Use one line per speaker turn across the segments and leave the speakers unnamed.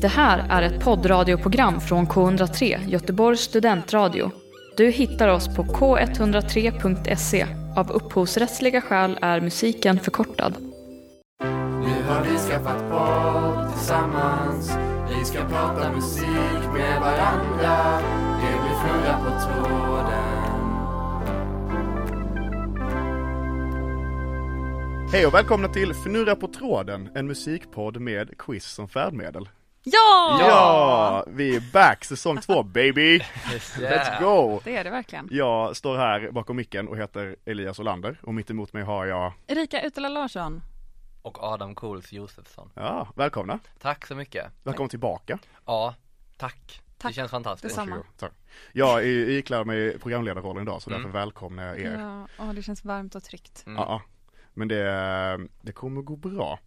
Det här är ett poddradioprogram från K103, Göteborgs studentradio. Du hittar oss på k103.se. Av upphovsrättsliga skäl är musiken förkortad.
Nu har vi skaffat podd tillsammans Vi ska prata musik med varandra Det blir fnurra på tråden
Hej och välkomna till Fnurra på tråden, en musikpodd med quiz som färdmedel.
Ja!
Ja, vi är back, säsong två baby! Let's go!
Det är det verkligen.
Jag står här bakom micken och heter Elias Olander och mitt emot mig har jag,
Erika Utela Larsson.
Och Adam Cools Josefsson.
ja, välkomna,
Tack så mycket.
välkommen tillbaka.
Ja, tack.
Tack.
Det känns fantastiskt.
Detsamma.
Varsågod. Tack. Jag är- ikläder mig programledarrollen idag
Mm.
så därför välkomnar jag er. Ja. Mm.
Ja, åh, det känns varmt och tryggt.
ja. Men det, det kommer gå bra.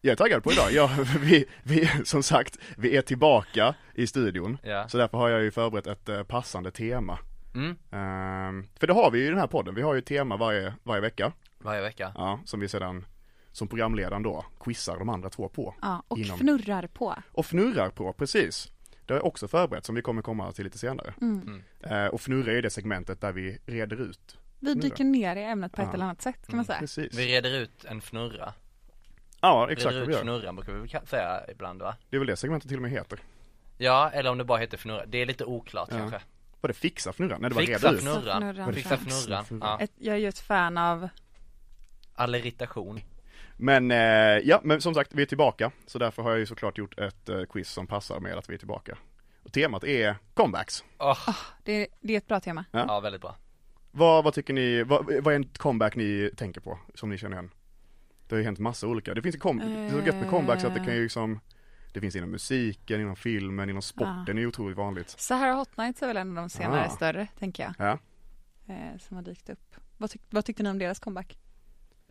Jag är taggad på idag, ja, vi, vi, som sagt, vi är tillbaka i studion.
Ja.
Så därför har jag ju förberett ett eh, passande tema.
Mm.
Ehm, för det har vi ju i den här podden, vi har ju ett tema varje, varje vecka,
Varje vecka.
ja, som vi sedan som programledaren då quizar de andra två på.
Ja, och
Inom-
fnurrar på.
Och fnurrar på, precis. Det har jag också förberett som vi kommer komma till lite senare.
Mm.
Eh, och fnurra är ju det segmentet där vi reder ut.
Vi dyker ner i ämnet på
Ja.
ett
Mm,
eller annat sätt kan man säga.
Precis.
Vi reder ut en fnurra.
Ja, exakt
reder
vad
ut
vi gör.
fnurran brukar vi väl ka- säga ibland va?
Det är väl det segmentet till och med heter.
Ja, eller om det bara heter fnurra. Det är lite oklart kanske.
Var det fixa fnurran? Nej, det var
Fixa
reda ut.
fnurran.
fnurran. Fixa
Fixa
fnurran.
fnurran.
Ja.
Ett, jag är ju ett fan av,
Alliritation.
Men eh, ja, men som sagt, vi är tillbaka. Så därför har jag ju såklart gjort ett eh, quiz som passar med att vi är tillbaka. Och temat är comebacks.
Åh,
det är, det är ett bra tema.
Ja.
Ja, väldigt bra.
Vad, vad tycker ni, vad, vad är en comeback ni tänker på, som ni känner igen? Det har ju hänt massa olika, det finns ju com- det är så gött med comebacks att det kan ju liksom Det finns inom musiken, inom filmen, inom sporten, det är ju otroligt vanligt
Sahara Hot Nights är väl en av de senare
Ah.
större, tänker jag,
Ja,
eh, som har dykt upp. Vad, tyck, vad tyckte ni om deras comeback?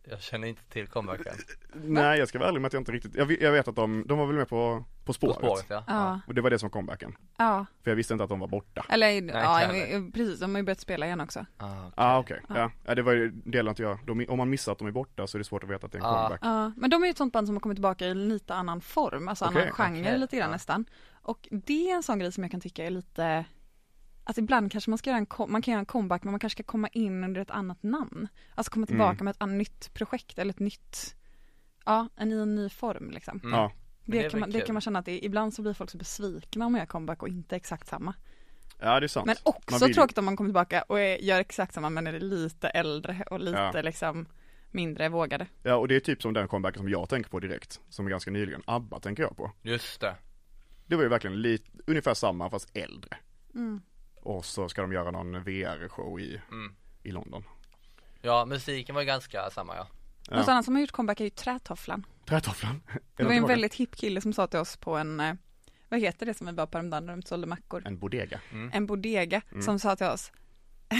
Jag känner inte till comebacken.
nej jag ska vara ärlig med att jag inte riktigt, jag, vet- jag vet att de, de var väl med på, på
På
spåret,
spåret ja.
Ja,
Och det var det som var comebacken,
ja.
för jag visste inte att de var borta
Eller, ja,
inte heller.
precis, de har ju börjat spela igen också.
Ah, okej.
Ah okej, ja. ja det var ju, det gäller inte jag, de, om man missar att de är borta så är det svårt att veta att det är en
Ah.
comeback
Ja, men de är ju ett sånt band som har kommit tillbaka i lite annan form, alltså
Okej,
annan genre
okej,
lite grann
ja.
nästan. Och det är en sån grej som jag kan tycka är lite, att ibland kanske man ska göra en, kom- man kan göra en comeback men man kanske ska komma in under ett annat namn. Alltså komma tillbaka med ett an- nytt projekt eller ett nytt, ja, en i en ny form liksom.
Ja,
Det,
det är
kan man,
väl
det kan
kul.
man känna att det, ibland så blir folk så besvikna om jag gör comeback och inte exakt samma.
ja det är sant
Men
Man
också
vill ju-
tråkigt om man kommer tillbaka och är, gör exakt samma men är lite äldre och lite
Ja.
liksom mindre vågade.
Ja och det är typ som den comebacken som jag tänker på direkt, som är ganska nyligen, ABBA tänker jag på
Just det.
Det var ju verkligen lite, ungefär samma fast äldre.
Mm.
Och så ska de göra någon VR-show i, i London.
Ja, musiken var ju ganska samma ja.
Något annat som har gjort comeback är ju Trätofflan.
Trätofflan. Är
Det
de
var ju en
tillbaka?
väldigt hipp kille som sa till oss på en, eh, vad heter det som vi var på häromdagen när de sålde mackor?
En bodega.
En bodega
Mm.
som sa till oss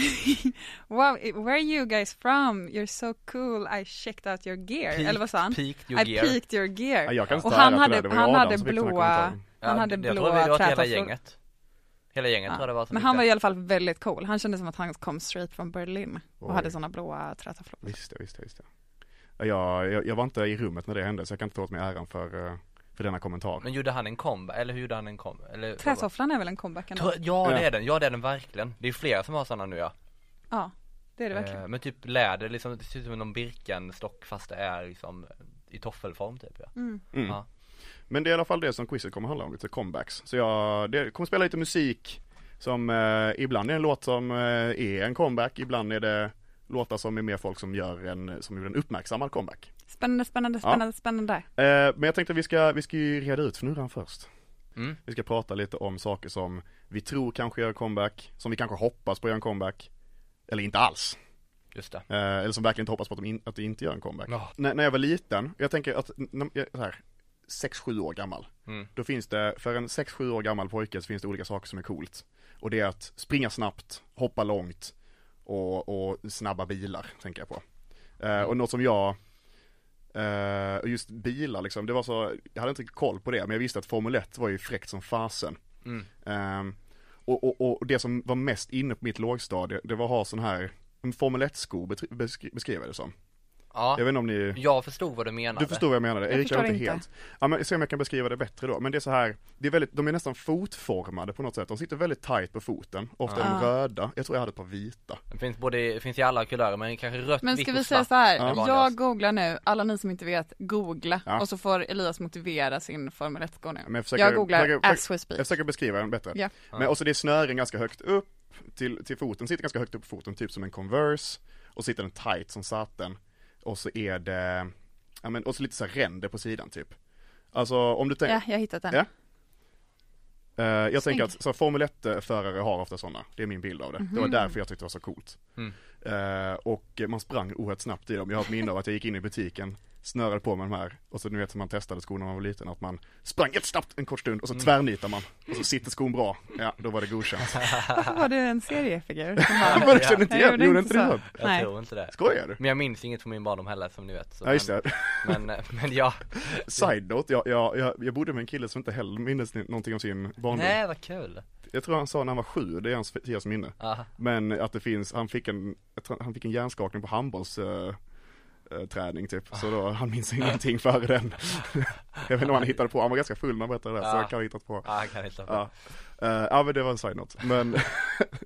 Wow, where are you guys from? You're so cool, I checked out your gear.
Peaked-
Eller vad sa han?
peaked your
I
gear.
peaked your gear.
Ja, jag kan inte
och
ta
han
ära för det. Det
hade,
var ju
han
Adam
hade
som fick den här
blåa,
kommentaren.
ja
han hade
jag
blåa
tror vi var hela
trätofflor.
gänget. Hela gänget tror jag det var som
Men han
gick
var
där.
i alla fall väldigt cool. Han kände som att han kom straight från Berlin och
Oj.
hade sådana blåa trätofflor.
Visst det, visst det, visst det. Ja, Jag, jag, jag var inte i rummet när det hände så jag kan inte ta åt mig äran för, eh, för denna kommentar.
Men gjorde han en comeback? Eller hur gjorde han en comeback? Eller
Trätofflan är väl en comeback ändå?
Tr- Ja det är den, ja det är den verkligen. Det är flera som har sådana nu ja.
Ja, det är det verkligen.
Eh, Men typ läder liksom, det ser ut som någon Birkenstock fast det är liksom i toffelform typ ja.
Mm.
Mm.
ja.
Men det är i alla fall det som quizet kommer handla om, lite comebacks. Så jag det kommer spela lite musik som eh, ibland är en låt som eh, är en comeback, ibland är det låtar som är mer folk som gör en, som gjorde en uppmärksammad comeback.
Spännande, spännande, spännande, spännande.
Eh, men jag tänkte att vi ska, vi ska ju reda ut fnurran först. Vi ska prata lite om saker som vi tror kanske gör comeback, som vi kanske hoppas på gör en comeback, eller inte alls.
Just det.
Eh, eller som verkligen inte hoppas på att de, in, att de inte gör en comeback.
Ja.
När, när jag var liten, jag tänker att, n- när jag, så här, 6-7 år gammal, då finns det, för en 6-7 år gammal pojke så finns det olika saker som är coolt. Och det är att springa snabbt, hoppa långt och, och snabba bilar, tänker jag på. Eh, och något som jag, eh, och just bilar liksom, det var så, jag hade inte koll på det, men jag visste att Formel 1 var ju fräckt som fasen. Ehm, och, och, och det som var mest inne på mitt lågstadie, det var att ha sån här, en Formel 1-sko beskriver jag det som.
Ja,
Jag vet inte om ni
jag förstod vad du menade.
Du förstår vad jag menade,
Jag
jag gick
förstår
inte
inte.
helt. Ja men se om jag kan beskriva det bättre då, men det är så här, det är väldigt, de är nästan fotformade på något sätt, de sitter väldigt tight på foten, ofta är de
Ja.
röda, jag tror jag hade ett par vita.
Det finns, både, det finns i alla kulörer men kanske rött,
Men
vitt
ska
och
vi säga
svart
så här,
är vanligast.
jag googlar nu, alla ni som inte vet, googla
Ja.
och så får Elias motivera sin Formel 1 gång
Men
nu.
jag försöker-
Jag googlar
försöker-
as we
Jag
speak.
försöker beskriva den bättre.
Ja.
Men och så det är snören ganska högt upp till, till foten, sitter ganska högt upp på foten, typ som en Converse, och sitter den tight som saten. Och så är det, ja men, och så lite så här ränder på sidan typ. Alltså om du tänker,
Ja, jag har hittat den.
Ja. Eh, jag
Snygg.
tänker att så, Formel 1-förare har ofta sådana, det är min bild av det. Det var därför jag tyckte det var så coolt.
Mm.
Eh, och man sprang oerhört snabbt i dem. Jag har ett minne av att jag gick in i butiken, snörade på mig de här och så nu vet som man testade skon när man var liten, att man sprang jättesnabbt en kort stund och så
Mm.
tvärnitar man och så sitter skon bra. Ja, då var det godkänt.
Varför var du en seriefigur? som
Men
var-
du känner inte
Jag
igen, gjorde inte
så.
det något?
Jag
Nej.
tror inte det.
Skojar du?
Men jag minns inget från min barndom heller som ni vet. Så
Ja just
men,
det,
men, eh, men ja.
side note, jag, jag, jag, jag bodde med en kille som inte heller minns ni- någonting om sin barndom.
Nej vad kul.
Jag tror han sa när han var sju, det är hans, hans minne.
Ja.
Men att det finns, han fick en, jag tror han fick en hjärnskakning på handbollsträning eh, träning typ, så då, han minns ingenting före den. jag vet inte om han hittade på, han var ganska full när han berättade det, här, så
Ja.
han kan ha hittat på.
Ja, han kan inte
Ja. Eh, ja men det var en side-note, men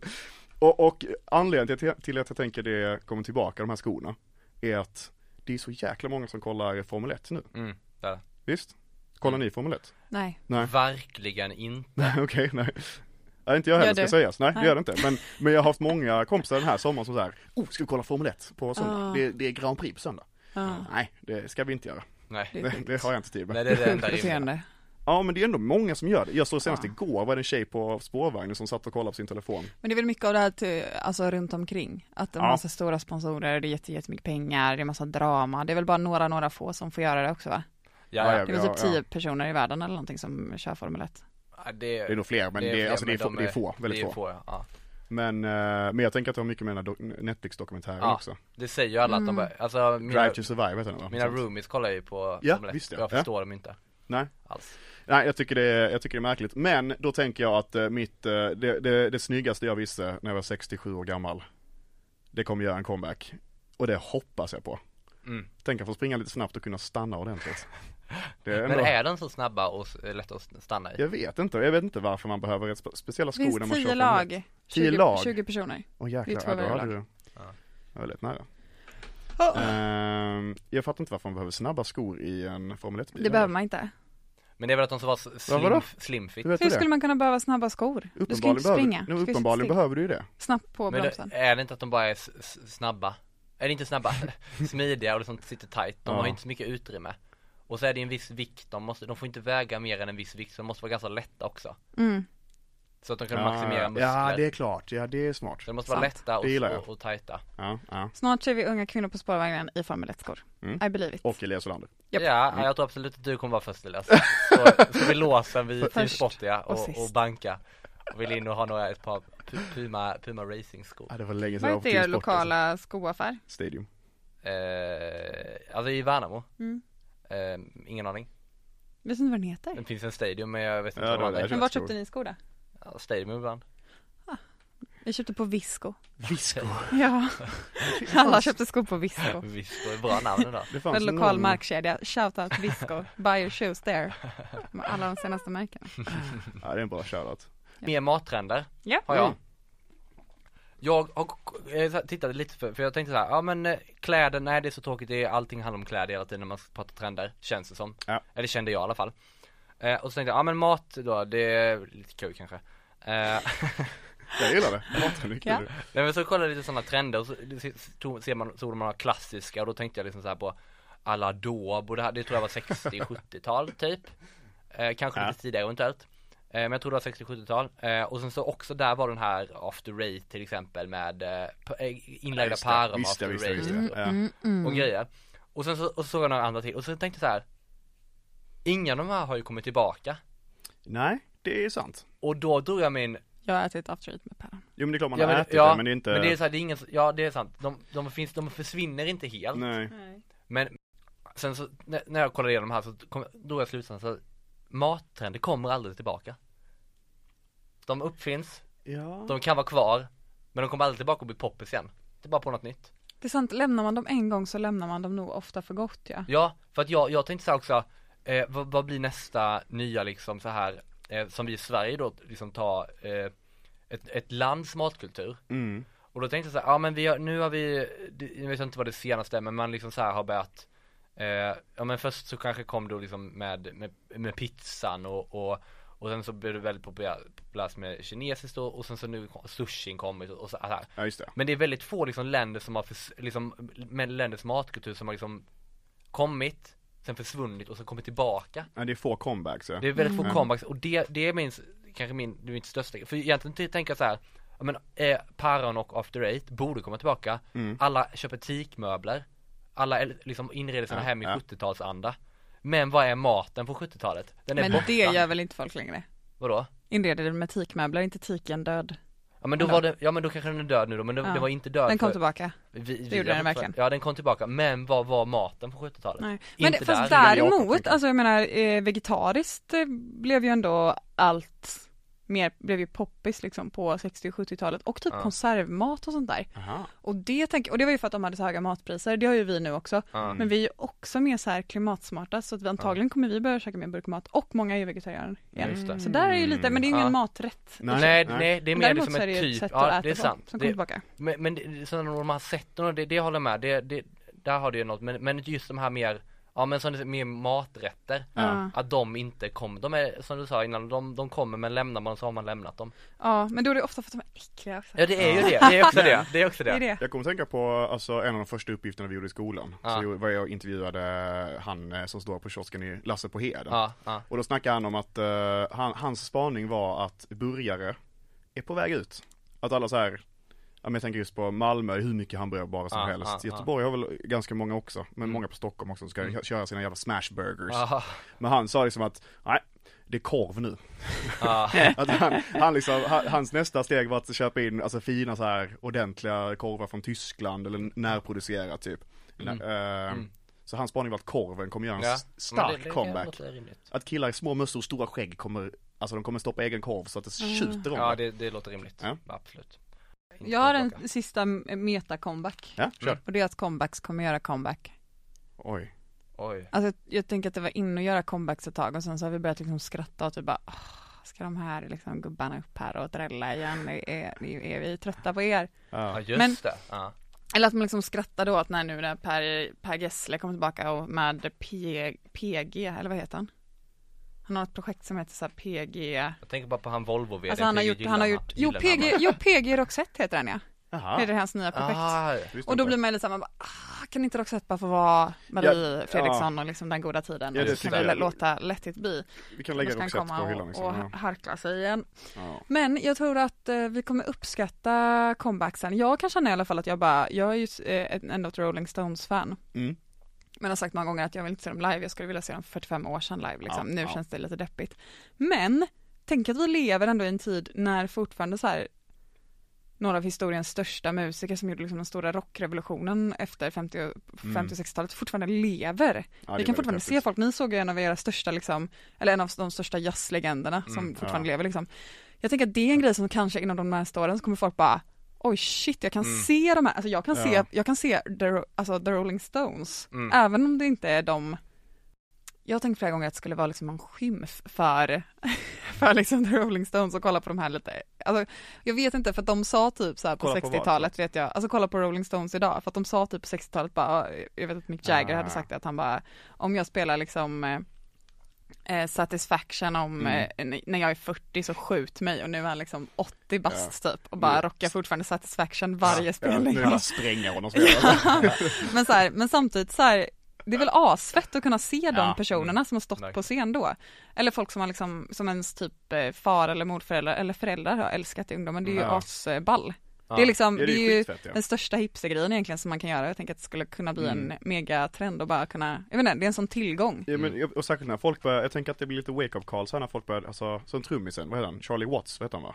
och, och anledningen till, till att jag tänker det kommer tillbaka, de här skorna, är att det är så jäkla många som kollar Formel 1 nu,
Mm, där.
visst? Kollar
Mm.
ni Formel 1?
Nej,
Nej.
Verkligen inte.
Nej, okej, nej. Nej, inte jag heller
Gör
ska
du?
sägas. Nej, det
Nej.
gör det inte. Men, men jag har haft många kompisar den här sommaren som såhär, oh, ska vi kolla Formel 1 på söndag?
Ah.
Det, det är Grand Prix på söndag.
ja.
Nej, det ska vi inte göra.
Nej.
Det är
Det,
dumt.
det har jag inte tid med.
Nej det är det enda
Sjukt
rimliga.
beteende.
Ja, men det är ändå många som gör det. Jag såg senast
Ah.
igår var det en tjej på spårvagnen som satt och kollade på sin telefon.
Eh,
Men det är väl mycket av det här till, alltså runt omkring. Att det är
Ja.
massa stora sponsorer, det är jätte- jättemycket pengar, det är massa drama. Det är väl bara några, några få som får göra det också va?
Ja,
Det är väl typ
ja.
tio personer i världen eller någonting som kör Formel 1.
ja. Det,
Det är nog fler, men det är,
fler,
alltså, det, är
men
få,
de
det är få, väldigt
det är
få.
ja. ja.
Men, eh, men jag tänker att det har mycket med den här do- Netflix-dokumentären
Ja,
också.
Det säger ju alla att de bara, alltså mina,
Drive to survive heter den va?
mina
Sånt.
roomies kollar ju på
Ja,
Formel 1.
visst, ja.
Jag
Ja.
förstår dem inte
Nej.
alls.
Nej, jag tycker, det är, jag tycker det är märkligt. Men då tänker jag att eh, mitt, eh, det, det, det snyggaste jag visste när jag var 67 år gammal, det kommer göra en comeback. Och det hoppas jag på.
Mm.
Tänk att få springa lite snabbt och kunna stanna ordentligt. Det är
Men
ändå,
är de så snabba och s- lätta att stanna i?
Jag vet inte, jag vet inte varför man behöver ett spe- speciella
Det finns
skor när man kör
tio
Formel
lag.
10
20,
lag?
20 personer.
Åh jäklar,
Det är två
ja, då
varje
hade
lag.
du.
Ja.
Jag var väldigt nära.
Oh.
Ehm, jag fattar inte varför man behöver snabba skor i en Formel 1-bil.
Det behöver man inte.
Men det är väl att de ska vara s-
Vad var det?
slim, slimfit?
Du vet
Hur
väl det?
skulle man kunna behöva snabba skor? Du ska ju
Uppenbarligen
inte springa.
behöver,
Du
nu,
ska ju sitta
uppenbarligen
still.
behöver du ju det.
Snabbt på
Men
bromsen.
det, är det inte att de bara är s- s- snabba? Är det inte snabba? Smidiga och liksom sitter tight, de
Ja.
har ju inte så mycket utrymme Och så är det en viss vikt, de, måste, de får inte väga mer än en viss vikt, så de måste vara ganska lätta också
Mm.
Så att de kan maximera muskler
ja, det är klart. Ja, det är smart.
Så de måste vara
Sant.
lätta och,
Det gillar jag.
och, och tajta
Ja, ja.
Snart ser vi unga kvinnor på spårvagnen i Formel 1-skor.
Mm.
I believe it.
Och Elias Olander.
Japp. Mm.
Ja, jag tror absolut att du kommer vara först Elias Så, så vi låser vid Team
Först
Sportia
och
och,
sist.
och Banka Och vill in och ha några, ett par Pu- Puma, Puma Racing skor
Ja, det var länge sedan
Vad
jag var på
heter er
Team Sport, alltså.
lokala skoaffär?
Stadium.
eh, Alltså i Värnamo
Mm.
eh, Ingen aning
Vet inte vad den heter?
Det finns en stadion men jag vet inte
Ja,
vad
det var
den
det.
heter.
Men
jag
vart
tror.
köpte ni skor då?
Ja, Stadium ibland.
Vi köpte på Visco.
Visco.
Ja. Alla köpte skor på Visco.
Visst, det är bra namn idag.
Det
En
fanns
lokal
någon-
markkedja. Shoutout Visco. Buy your shoes there. Med Alla de senaste märkena.
Ja, det är en bra shoutout. Mm.
Mer mattrender
Ja.
har jag. Jag har eh, så här, tittade lite för, för jag tänkte så här, ja men eh, kläder, nej det är så tråkigt, det är, allting handlar om kläder hela tiden när man pratar trender, känns det som.
Ja.
Eller kände jag i alla fall. Eh, och så tänkte jag, ja men mat då, det är lite kul kanske. Eh,
Jag gillar det. Maten är kul.
Ja.
Nej men så kollade jag lite sådana trender och så tog, ser man, såg man några klassiska och då tänkte jag liksom så här på alla Adobe och det, här, det tror jag var 60-70-tal typ eh, Kanske
Ja.
lite tidigare eventuellt eh, Men jag tror det var 60-70-tal eh, och sen så också där var den här After Raid till exempel med eh, p- eh,
Ja,
inlagda
just det.
päron
Visst,
After
ja, visst, ja,
Raid
visst, ja. Mm,
Mm.
Ja.
och grejer Och sen så, och så såg jag några andra till och så tänkte jag så här Ingen av de här har ju kommit tillbaka
Nej, det är sant.
och då drog jag min
Jag har ätit after eat med päron.
Jo men det är klart man
ja,
har
men-
ätit
ja,
det, men det är inte...
Men det är så här, det är ingen, ja det är sant, de, de finns, de försvinner inte helt
Nej.
Men sen så, när- när jag kollade igenom här så kom, drog jag slutsatsen att mattrender kommer aldrig tillbaka De uppfinns,
Ja.
de kan vara kvar, men de kommer aldrig tillbaka och bli poppis igen Det är bara på något nytt
Det är sant, lämnar man dem en gång så lämnar man dem nog ofta för gott ja.
Ja, för att jag, jag tänkte så här också, eh, vad, vad blir nästa nya liksom så här, eh, som vi i Sverige då liksom tar eh, ett, ett lands matkultur.
Mm.
Och då tänkte jag så här, ja men vi har, nu har vi, det- jag vet inte vad det senaste är, men man liksom så här har börjat eh, Ja men först så kanske kom då liksom med, med, med pizzan och, och och sen så blev det väldigt populär- populärt med kinesiskt och, och sen så nu kom- sushin kommit och, och så här.
Ja just det.
Men det är väldigt få liksom länder som har, förs- liksom, med länders matkultur som har liksom kommit, sen försvunnit och sen kommit tillbaka.
Ja, det är få comebacks ja.
Det är väldigt få
Mm.
comebacks och det, det är min, kanske min, det är mitt största, för egentligen t- tänker jag så här, ja, men eh, Paron och After Eight borde komma tillbaka,
Mm.
alla köper teakmöbler, alla el- liksom inreder sina
Ja,
hem i
ja.
70-talsanda. Men vad är maten från 70-talet? Den är
Men
borta.
det gör väl inte folk längre?
Vadå?
Inreder det med teakmöbler, inte tiken död.
Ja men då
Ändå.
var det, ja men då kanske den är död nu då, men den
Ja.
den var inte död
Den kom
för-
tillbaka.
Vi, vi,
gjorde den
jag-
verkligen.
Ja den kom tillbaka, men vad var maten på 70-talet?
Nej. Men
Inte
det, fast
där.
Lilla Jakob,
däremot,
liksom.
tänker jag.
alltså jag menar eh, vegetariskt eh, blev ju ändå allt mer, blev ju poppis liksom på 60 och 70-talet och typ
Ja.
konservmåt och sånt där.
Aha.
Och det, tänk, och det var ju för att de hade så höga matpriser, det har ju vi nu också.
Ja.
Men vi är ju också mer så här klimatsmarta så att vi antagligen kommer vi börja käka mer burkmat och många är ju vegetarianer igen.
Just det.
Så där är ju lite, men det är ju ingen
Ja.
maträtt.
Nej,
Nej,
nej.
nej, det är mer
Däremot
liksom
så är
ett
det ju ett
typ,
sätt
ja
att
det är
äta på
sant
som kommer
det,
tillbaka.
Men, men det, så när de här sätten och det, det håller jag med, det, det, där har det ju något, men, men just de här mer Ja men som du säger, mer maträtter
Ja.
Att de inte kommer, de är som du sa innan, de, de kommer men lämnar man så har man lämnat dem
Ja, men då är det ofta för att de är äckliga också.
Ja det är ju det, det är också det, det är också
Det är
det
det.
Jag kommer tänka på alltså, en av de första uppgifterna vi gjorde i skolan.
Ja.
Så jag- var jag och intervjuade han eh, som står på kiosken i Lasse på Heden.
Ja, ja,
Och då snackade han om att eh, han, hans spaning var att burgare är på väg ut. Att alla så här, ja, men jag tänker just på Malmö, hur mycket hamburgerbarer som
Ja,
helst.
ja,
Göteborg har väl ganska många också, men många på Stockholm också som ska köra sina jävla smashburgers.
ja,
Men han sa liksom att, nej, det är korv nu.
ja,
Att han, han liksom, han, hans nästa steg var att köpa in alltså, fina så här ordentliga korvar från Tyskland eller närproducerat typ. Eh, Så hans spaning var att korven kommer göra en
ja.
s- stark
Men det- det
comeback.
låter rimligt.
Att killar i små mössor och stora skägg kommer, alltså de kommer stoppa egen korv så att det
Mm.
tjuter om
Ja
det.
det, det låter rimligt,
Ja.
absolut Inte
Jag har
tillbaka.
en sista meta-comeback.
Ja, kör.
Och det är att comebacks kommer göra comeback.
Oj.
Oj,
Alltså jag- jag tänker att det var in att göra comebacks ett tag och sen så har vi börjat liksom skratta och typ bara "Åh, Ska de här liksom gubbarna upp här och drälla igen? Det är, det är, är vi trötta på er?
ja
Ja.
just
Men-
det, ja,
Eller att man liksom skrattar då att när nu när Per, per Gessle kommer tillbaka och med P, PG, eller vad heter han? Han har ett projekt som heter så här PG
jag tänker bara på han volvo vd
Alltså han har gjort, han har gjort, jo PG, jo PG Roxette heter han ja, det är
Jaha.
det hans nya projekt
ah,
Visste
Och då
inte.
blir man lite såhär, man bara, ah, kan inte Roxette bara få vara Marie
Ja,
Fredriksson och liksom den goda tiden?
Ja, det
så kan
tycker
vi
jag.
låta let it be.
Vi kan
Då
lägga
ska han
Roxette
komma
på
och,
hyllan
och
liksom. Ja.
harkla sig igen.
Ja.
Men jag tror att eh, vi kommer uppskatta comebacksen. Jag kan känna i alla fall att jag bara, jag är ju eh, ett- ändå ett Rolling Stones-fan.
Mm.
Men har sagt många gånger att jag vill inte se dem live, jag skulle vilja se dem för 45 år sedan live liksom.
Ja,
nu
ja.
känns det lite deppigt. Men, tänk att vi lever ändå i en tid när fortfarande så här några av historiens största musiker som gjorde liksom den stora rockrevolutionen efter 50 och
Mm.
60-talet fortfarande lever.
Ja, det
vi
är
kan fortfarande
väldigt
se folk, ni såg ju en av era största liksom, eller en av de största jazzlegenderna som
Mm,
fortfarande lever liksom. Jag tänker att det är en grej som kanske inom de närmaste åren så kommer folk bara Oj shit, jag kan se de här, alltså jag kan se,
Mm. Ja.
jag kan se the, Ro- alltså, the Rolling Stones,
Mm.
även om det inte är de jag har tänkt flera gånger att det skulle vara liksom en skymf för, för liksom The Rolling Stones och kolla på de här lite, alltså jag vet inte för att de sa typ så här på
Kolla på vad? liksom?
60-talet vet jag, alltså kolla på Rolling Stones idag, för att de sa typ på 60-talet bara, jag vet att Mick Jagger
Ah.
hade sagt det, att han bara, om jag spelar liksom eh, eh, Satisfaction om
Mm.
eh, när jag är 40 så skjut mig och nu är han liksom 80 bast typ och bara
Mm.
rockar fortfarande Satisfaction varje spelning.
Nu är det bara spränga honom som gör det.
Men, så här, men samtidigt så här, det är väl asfett att kunna se de
Ja,
personerna som har stått
Verkligen.
på scen då. Eller folk som har liksom, som ens typ eh, far eller morföräldrar eller föräldrar har älskat i ungdomen, det är ju
Ja.
asball. Det är liksom,
Ja,
det är ju
skitfett, ja.
den största hipstergrejen egentligen som man kan göra. Jag tänker att det skulle kunna bli
Mm.
en megatrend och bara kunna, jag vet inte, det är en sån tillgång.
Ja, men, och särskilt när folk börjar, jag tänker att det blir lite wake-up call så här när folk börjar, alltså som trummisen, vad heter han, Charlie Watts, vet han va?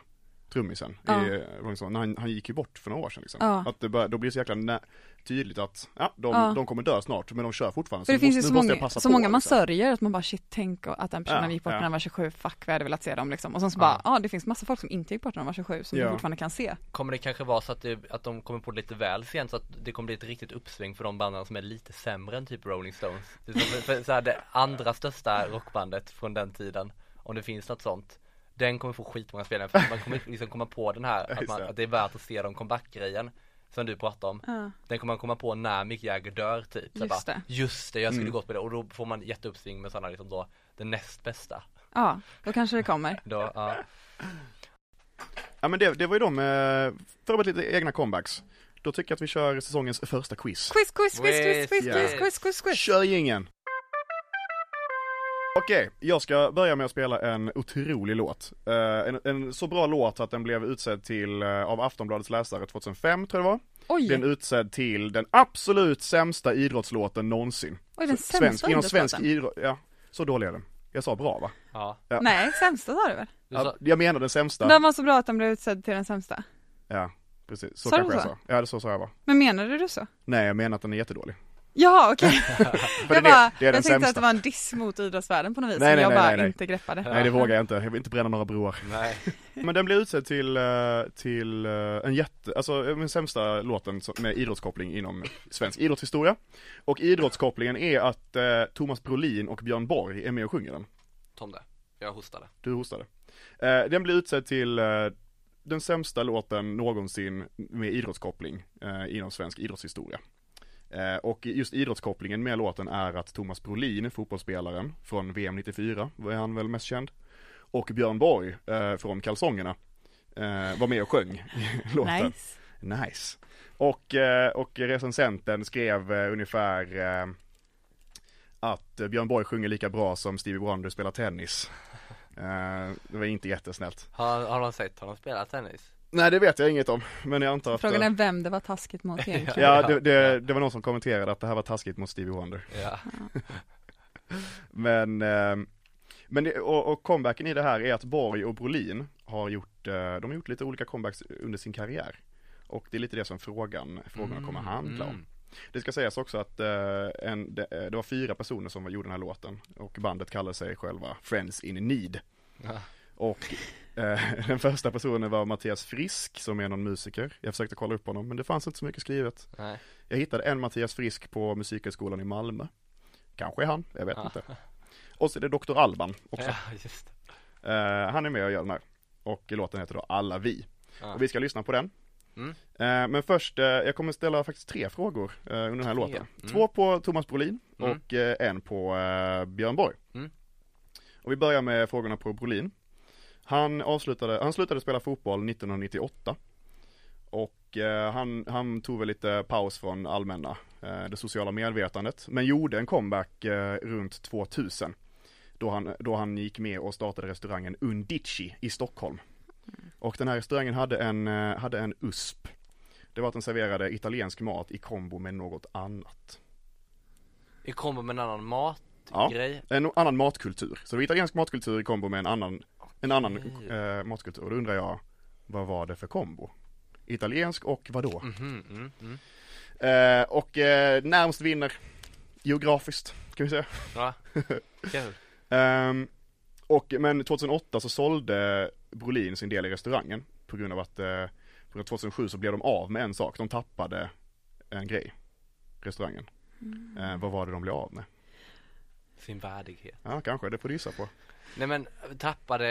trummisen
Ja.
i eh, Rolling Stones, när han, han gick ju bort för några år sedan liksom.
Ja.
Att det bör, då blir det så jäkla nä- tydligt att, ja, de,
Ja.
de kommer dö snart, men de kör fortfarande.
För det
nu
finns ju
måste-
så
nu måste jag
många,
passa
så
på,
många man
liksom.
sörjer att man bara shit, tänk att den personen
Ja,
gick bort när
ja.
han var 27, fuck vi hade velat se dem liksom. Och sen så
Ja.
bara, ja ah, det finns massa folk som inte gick bort när de var 27 som
Ja.
du fortfarande kan se.
Kommer det kanske vara så att, det, att de kommer på det lite väl sent så att det kommer bli ett riktigt uppsving för de banden som är lite sämre än typ Rolling Stones? Det är som för, för, så här, det andra största rockbandet från den tiden, om det finns något sånt Den kommer få skitmånga spelningar för man kommer liksom komma på den här att,
Just
man,
det.
att det är värt att se dem comeback-grejen Som du pratade om
Ja.
Den kommer man komma på när Mick Jagger dör typ så
Just
bara,
det.
Just det, jag skulle gått på det och då får man jätteuppsving med sådana liksom då Den näst bästa
Ja, då kanske det kommer.
då, ja.
Ja men det, det var ju de, eh, förberedde lite egna comebacks. Då tycker jag att vi kör säsongens första quiz.
Quiz, quiz, quiz, quiz,
Quiz,
quiz,
ja.
quiz, quiz, quiz, quiz.
Kör ingen. Okej, jag ska börja med att spela en otrolig låt. Eh, en, en så bra låt att den blev utsedd till, eh, av Aftonbladets läsare 2005 tror jag det var. Den
Oj,
är utsedd till den absolut sämsta idrottslåten någonsin.
oj den
Så-
sämsta
inom svensk
idrottslåten.
idrott, ja. Så dålig är den. Jag sa bra va?
ja.
Ja.
Nej, sämsta sa du väl?
Du sa-
Ja, jag menar den sämsta.
Den var så bra att den blev utsedd till den sämsta.
Ja, precis. Så
Sa du
kanske jag
så?
sa. Ja, det så sa jag va.
Men menade du så?
Nej, jag menar att den är jättedålig.
Jaha okej,
För den är,
jag, bara,
det är
jag
den
tänkte
sämsta.
att det var en diss mot idrottsvärlden på något vis
Nej,
som
nej,
jag
nej,
bara
nej, nej.
inte greppade.
Nej, det vågar jag inte. Jag vill inte bränna några broar.
Nej.
Men den blev utsedd till, eh, till eh, en jätte, alltså eh, den sämsta låten som- med idrottskoppling inom svensk idrottshistoria. Och idrottskopplingen är att eh, Thomas Brolin och Björn Borg är med och sjunger den.
Tom det, jag hostade
Du hostade. Eh, den blir utsedd till eh, den sämsta låten någonsin med idrottskoppling eh, inom svensk idrottshistoria. Eh, och just idrottskopplingen med låten är att Thomas Brolin, fotbollsspelaren från VM 94, var han väl mest känd, och Björn Borg eh, från Kalsongerna eh, var med och sjöng låten.
Nice.
Nice. Och, eh, och recensenten skrev eh, ungefär eh, att Björn Borg sjunger lika bra som Stevie Wonder spelar tennis. Eh, Det var inte jättesnällt.
Har, har de sett honom spela tennis?
Nej det vet jag inget om, men jag antar att eh,
Frågan är vem det var taskigt mot egentligen.
Ja, det, det, det var någon som kommenterade att det här var taskigt mot Stevie Wonder.
Ja,
Men, eh, men det, och, och comebacken i det här är att Borg och Brolin har gjort, eh, de har gjort lite olika comebacks under sin karriär. Och det är lite det som frågan, frågorna kommer att
Mm.
handla om. Det ska sägas också att eh, en, det, eh, det var fyra personer som gjorde den här låten och bandet kallade sig själva Friends in Need.
Ja.
Och eh, den första personen var Mattias Frisk som är någon musiker. Jag försökte kolla upp honom men det fanns inte så mycket skrivet.
nej.
Jag hittade en Mattias Frisk på Musikhögskolan i Malmö. Kanske han, jag vet
Ja.
inte. Och så är det Dr. Alban också.
Ja, just det.
Eh, han är med och gör den här. Och låten heter då Alla vi.
Ja.
Och vi ska lyssna på den.
Mm.
Eh, men först, eh, jag kommer ställa faktiskt tre frågor eh, under den här
Tre.
låten.
Mm.
Två på Thomas Brolin
Mm.
och eh, en på eh, Björn Borg.
Mm.
Och vi börjar med frågorna på Brolin. Han avslutade, han slutade spela fotboll 1998. Och eh, han, han tog väl lite paus från allmänna, eh, det sociala medvetandet. Men gjorde en comeback eh, runt 2000. Då han, då han gick med och startade restaurangen Undici i Stockholm. Och den här restaurangen hade en, eh, hade en USP. Det var att den serverade italiensk mat i kombo med något annat.
I kombo med en annan
Ja.
matgrej
En annan matkultur. Så det var italiensk matkultur i kombo med en annan, en annan
Okej.
eh, matkultur. Och då undrar jag, vad var det för kombo? Italiensk och vadå?
Mhm, mm, mm.
Eh, och eh, närmst vinner, geografiskt, kan vi säga.
Ja, kul
Ehm, och, men 2008 så sålde Brolin sin del i restaurangen på grund av att eh, på grund av 2007 så blev de av med en sak, de tappade en grej, restaurangen. Eh, vad var det de blev av med?
Sin värdighet
Ja, kanske, det får du gissa på.
Nej men, tappade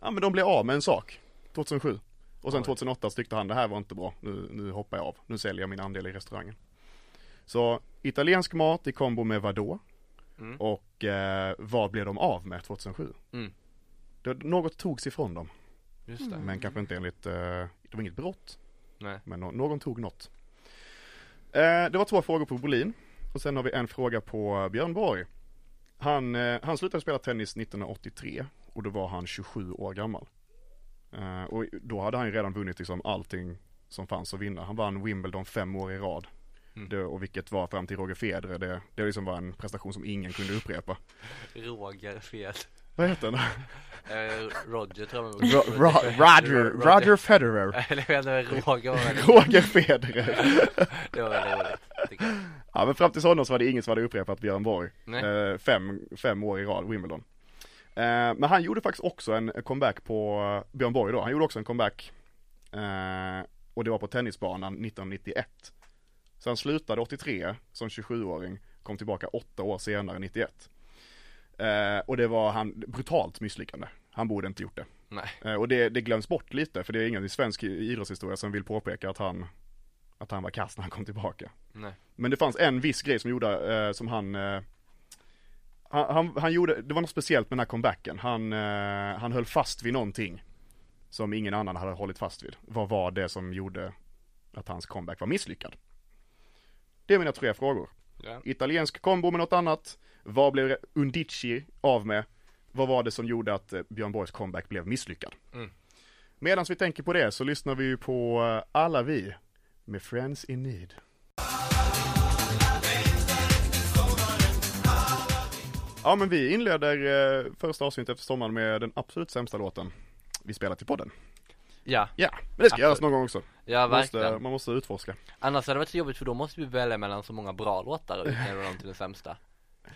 Ja, men de blev av med en sak 2007. Och sen
Oj.
2008 så tyckte han det här var inte bra, nu, nu hoppar jag av, nu säljer jag min andel i restaurangen. Så italiensk mat i kombo med vadå?
Mm.
Och eh, vad blev de av med 2007?
Mm.
Det, något togs ifrån dem.
Just det,
Men kanske inte enligt, eh, det var inget brott,
nej
men nå- någon tog något. Eh, det var två frågor på Bolin och sen har vi en fråga på Björn Borg. Han, eh, han slutade spela tennis 1983 och då var han 27 år gammal. Eh, och då hade han ju redan vunnit liksom allting som fanns att vinna. Han vann Wimbledon fem år i rad.
Mm.
Det, och vilket var fram till Roger Federer, det, det liksom var en prestation som ingen kunde upprepa.
Roger fel
Vad heter han?
Eh, Roger tror jag
Ro- Ro- Roger, Roger Federer.
Eller jag menar Roger var väldigt,
Roger Federer.
det var väldigt roligt tycker jag.
Ja men fram till honom så var det ingen som hade upprepat Björn Borg.
Nej.
Eh, fem, fem år i rad, Wimbledon. Eh, men han gjorde faktiskt också en comeback på eh, Björn Borg då. Han gjorde också en comeback. Eh, och det var på tennisbanan 1991. Så han slutade 83 som 27-åring. Kom tillbaka åtta år senare, 91. Eh, och det var han brutalt misslyckande. Han borde inte gjort det.
Nej.
Eh, Och det, det glöms bort lite, för det är ingen i svensk idrottshistoria som vill påpeka att han, att han var kass när han kom tillbaka.
Nej.
Men det fanns en viss grej som gjorde, eh, som han, eh, han, han, han gjorde, det var något speciellt med den här comebacken. Han, eh, han höll fast vid någonting som ingen annan hade hållit fast vid. Vad var det som gjorde att hans comeback var misslyckad? Det är mina tre frågor.
Ja.
Italiensk kombo med något annat. Vad blev Undici av med? Vad var det som gjorde att eh, Björn Borgs comeback blev misslyckad?
Mm.
Medan vi tänker på det så lyssnar vi ju på eh, Alla vi med Friends in Need. Ja men vi inleder eh, första avsnittet efter sommaren med den absolut sämsta låten vi spelat i podden.
Ja,
Ja, men det ska
Absolut.
göras någon gång också.
ja
Man måste,
verkligen.
man måste utforska.
Annars hade det varit så jobbigt för då måste vi välja mellan så många bra låtar och utnämna dem till den sämsta.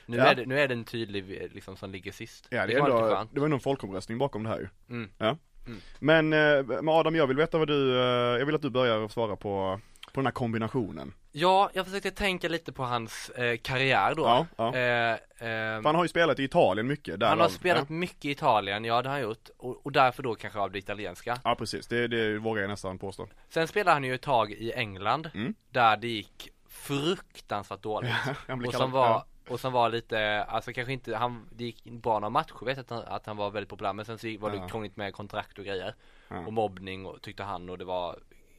Nu,
Ja.
är det, nu är det en tydlig eh, liksom som ligger sist.
Ja, det, är
kan vara lite
ändå,
skönt.
det var ändå en folkomröstning bakom det här ju.
Mm.
Ja.
Mm.
Men, eh, men Adam, jag vill veta vad du, eh, jag vill att du börjar och svara på, på den här kombinationen.
Ja, jag försökte tänka lite på hans eh, karriär då.
Ja, ja.
Eh, ehm,
För han har ju spelat i Italien mycket. Där
han har spelat mycket i Italien, ja det har han gjort. Och, och därför då kanske av det italienska.
Ja, ja precis, det, det vågar jag nästan påstå.
Sen spelade han ju ett tag i England,
Mm.
där det gick fruktansvärt dåligt.
Han blir
och
kallad-
som var,
ja.
och som var lite, alltså kanske inte, han, det gick bra några matcher vet jag att han, att han var väldigt populär men sen så gick- var det
Ja.
krångligt med kontrakt och grejer
Ja.
och mobbning och tyckte han och det var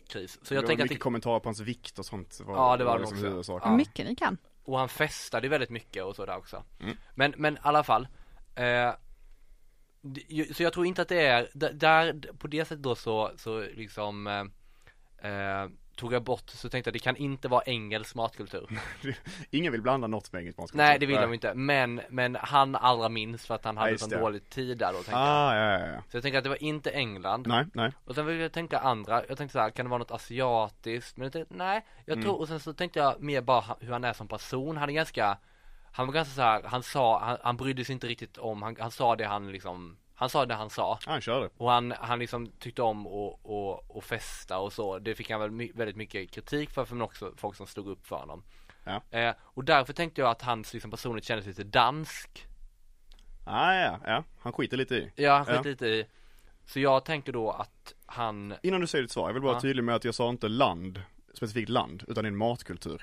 kris. Så
det
jag
var
tänker
mycket
att det,
kommentarer på hans vikt och sånt. Var,
Ja, det var det
liksom
också.
huvudsaken.
Ja.
Mycket ni kan.
och han festade ju väldigt mycket och sådär också.
Mm.
Men, men i alla fall, eh, det- ju- så jag tror inte att det är, d- där, på det sättet då så, så liksom eh, eh, tog jag bort, så tänkte jag det kan inte vara engelsk matkultur.
Ingen vill blanda något med engelsk matkultur.
Nej det vill de inte, men, men han allra minst för att han
Ja,
hade
just
sån
det.
dålig tid där då tänkte jag.
Ah, ja, ja, ja.
Så jag tänker att det var inte England.
Nej, nej.
Och sen vill jag tänka andra, jag tänkte så här, kan det vara något asiatiskt? Men jag tänkte, nej, jag
Mm.
tror, och sen så tänkte jag mer bara ha- hur han är som person, han är ganska Han var ganska så här, han sa, han, han brydde sig inte riktigt om, han, han sa det han liksom Han sa det han sa
Han körde.
och han, han liksom tyckte om att och, och festa och så, det fick han väl my- väldigt mycket kritik för, för men också folk som stod upp för honom
Ja.
eh, Och därför tänkte jag att hans liksom personligt kändes lite dansk
Ah, ja, ja. Han skiter lite i.
Ja, han skiter
Ja.
lite i. Så jag tänker då att han,
Innan du säger ditt svar, jag vill bara vara
Ja.
tydlig med att jag sa inte land, specifikt land, utan det är en matkultur.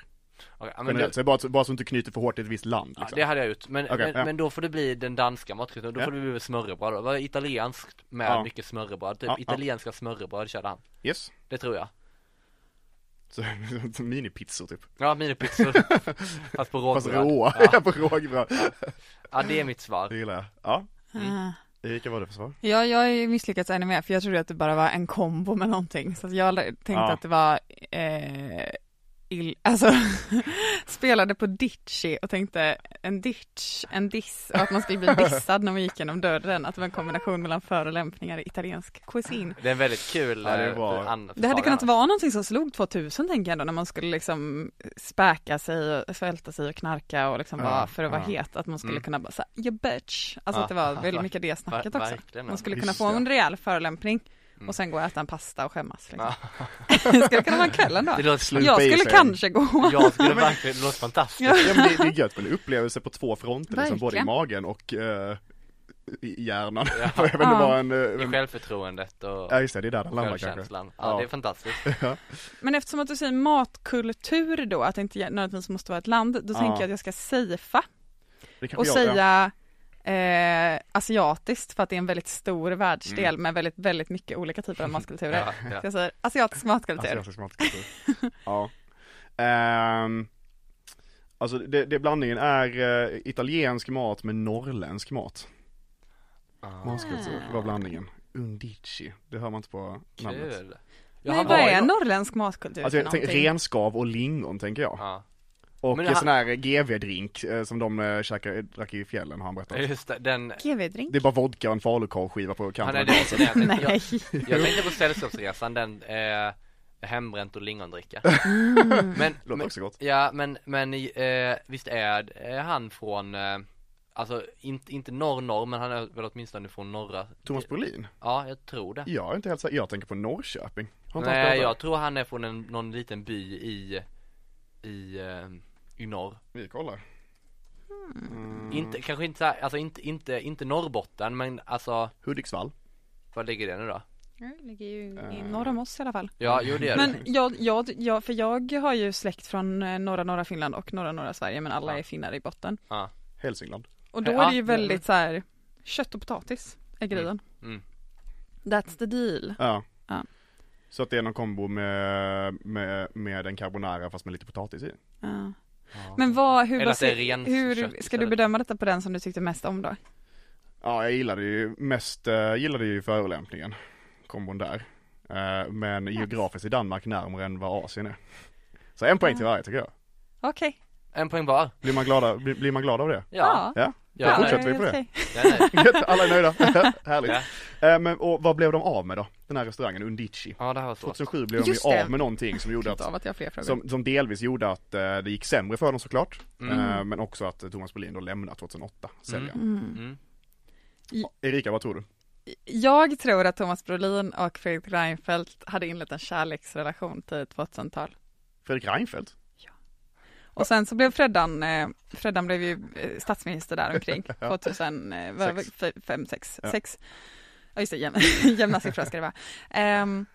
okej, ja, men
Generellt,
det,
så bara, bara så att du inte knyter för hårt till ett visst land.
ja,
Liksom.
det hade jag gjort. Men,
Okej,
men,
ja.
men då får det bli den danska maträtten, då
Ja.
får det bli smörrebröd då. Det var italienskt med
Ja.
mycket smörrebröd, typ
Ja, ja.
italienska smörrebröd körde han.
Yes.
Det tror jag.
Så, så minipizzor typ.
Ja, minipizzor. Fast på
Fast
rågbröd.
råa, ja. på rågbröd.
Ja, det är mitt svar.
Det gillar jag. Ja,
Ah.
Erika vad var det för svar?
Ja, jag har ju misslyckats ännu mer för jag trodde att det bara var en kombo med någonting. Så att jag l- tänkte
Ja.
att det var eh, ill, alltså spelade på ditchy och tänkte en ditch, en diss och att man skulle bli dissad när man gick genom dörren. Att det var en kombination mellan förolämpningar i italiensk cuisine.
Det är en väldigt kul
Ja, det
eh,
var-
för an-
Det hade
förslag,
kunnat
Anna.
vara någonting som slog 2000 tänker jag då när man skulle liksom späka sig och svälta sig och knarka och liksom
Ja,
bara för att vara
ja.
het att man skulle
Mm.
kunna bara såhär, you bitch. Alltså
Ja,
att det var
ja,
väldigt
ver-
mycket det snacket
Ver-
också.
Verkligen.
Man skulle
Just
kunna få
det.
en rejäl förolämpning
Mm.
och sen gå och äta en pasta och skämmas. Liksom.
Ja.
det skulle kunna vara kvällen då.
Det låter
Slut.
slut.
Jag skulle
Baser.
kanske gå.
Jag skulle verkligen, det låter fantastiskt.
Ja.
Ja, men det, det är gött med en upplevelse på två fronter, liksom,
Verkligen.
både i magen och eh, i hjärnan.
Ja.
Jag vet inte
Ja.
vad en...
I
en
självförtroendet och
ja just det, det är där den landar kanske.
självkänslan. Ja, det
Ja.
är fantastiskt.
Men eftersom att du säger matkultur då, att det inte nödvändigtvis måste vara ett land, då
Ja.
tänker jag att jag ska safea
Det kanske
och
jag-
säga eh, asiatiskt för att det är en väldigt stor världsdel med väldigt, väldigt mycket olika typer av matkulturer.
Ja, ja.
Så jag säger asiatisk matkultur.
Asiatisk matkultur. ja. Ehm, alltså det, det blandningen är eh, italiensk mat med norrländsk mat.
Ah,
Matkultur var blandningen. Undici, det hör man inte på namnet.
Kul. Ja,
Men
han
vad
var ju-
är norrländsk matkultur
Alltså
för
jag tänker
någonting?
renskav och lingon tänker jag.
Ja.
Och
Men
en
han-
sån här GV-drink eh, som de eh, käkade, drack i fjällen har han berättat.
Just det, den
GV-drink?
Det är bara vodka och en falukorvsskiva på
Han
kanten.
är det också det jag,
Nej.
jag, jag tänkte på Sällskapsresan, den eh, hembränt och lingondricka
Mm.
Men,
Låter
men
också gott.
ja men, men eh, visst är eh, han från eh, Alltså inte, inte norr-norr men han är väl åtminstone från norra
Thomas Brolin?
Ja, jag tror det
Jag är inte helt säker, jag tänker på Norrköping. Har inte han
Nej,
spelat
jag tror han är från en, någon liten by i I, eh, i norr
där? Vi kollar. Mm.
Inte, kanske inte så här, alltså inte, inte, inte Norrbotten men alltså
Hudiksvall.
Var ligger det nu då?
Det ligger ju i norr om oss i alla fall.
Ja, jo det gör det
Men jag, jag, jag, för jag har ju släkt från eh, norra norra Finland och norra norra Sverige men alla är finnar i botten.
ja.
Hälsingland.
Och då
Ja,
är det ju
men-
väldigt så här kött och potatis är grejen.
Mm.
That's the deal.
Ja.
Ja.
Så att det är någon kombo med, med, med en carbonara fast med lite potatis i.
Ja. Men vad, hur,
Eller att det är
basi-
rent kött
hur ska du
istället.
bedöma detta på den som du tyckte mest om då?
Ja, jag gillade ju mest, eh, gillade ju förolämpningen. Kombon där. Eh, men geografiskt i Danmark närmare än vad Asien är. Så en poäng till varje tycker jag.
Okej.
En poäng var?
Blir man glad av, blir, blir man glad av det?
Ja,
Ja,
Ja,
då fortsätter vi på det.
okej.
ja. nej.
Alla är nöjda. Härligt. Eh, men, och vad blev de av med då? Den här restaurangen Undici.
ja det här var svårt
2007 blev de
Just
ju
det.
av med någonting som gjorde att
Av att jag har fler frågor.
som, som delvis gjorde att eh, det gick sämre för dem såklart. Eh, men också att eh, Thomas Brolin då lämnade 2008, säljaren.
Mm.
Erika, vad tror du?
Jag tror att Thomas Brolin och Fredrik Reinfeldt hade inlett en kärleksrelation tidigt 2000-tal.
Fredrik Reinfeldt?
Och sen så blev Freddan, eh, Freddan blev ju eh, statsminister där omkring eh, 2005,
Sex.
6,
Ja.
6. Ja just det, jämna, jämna siffror ska det vara. Ehm,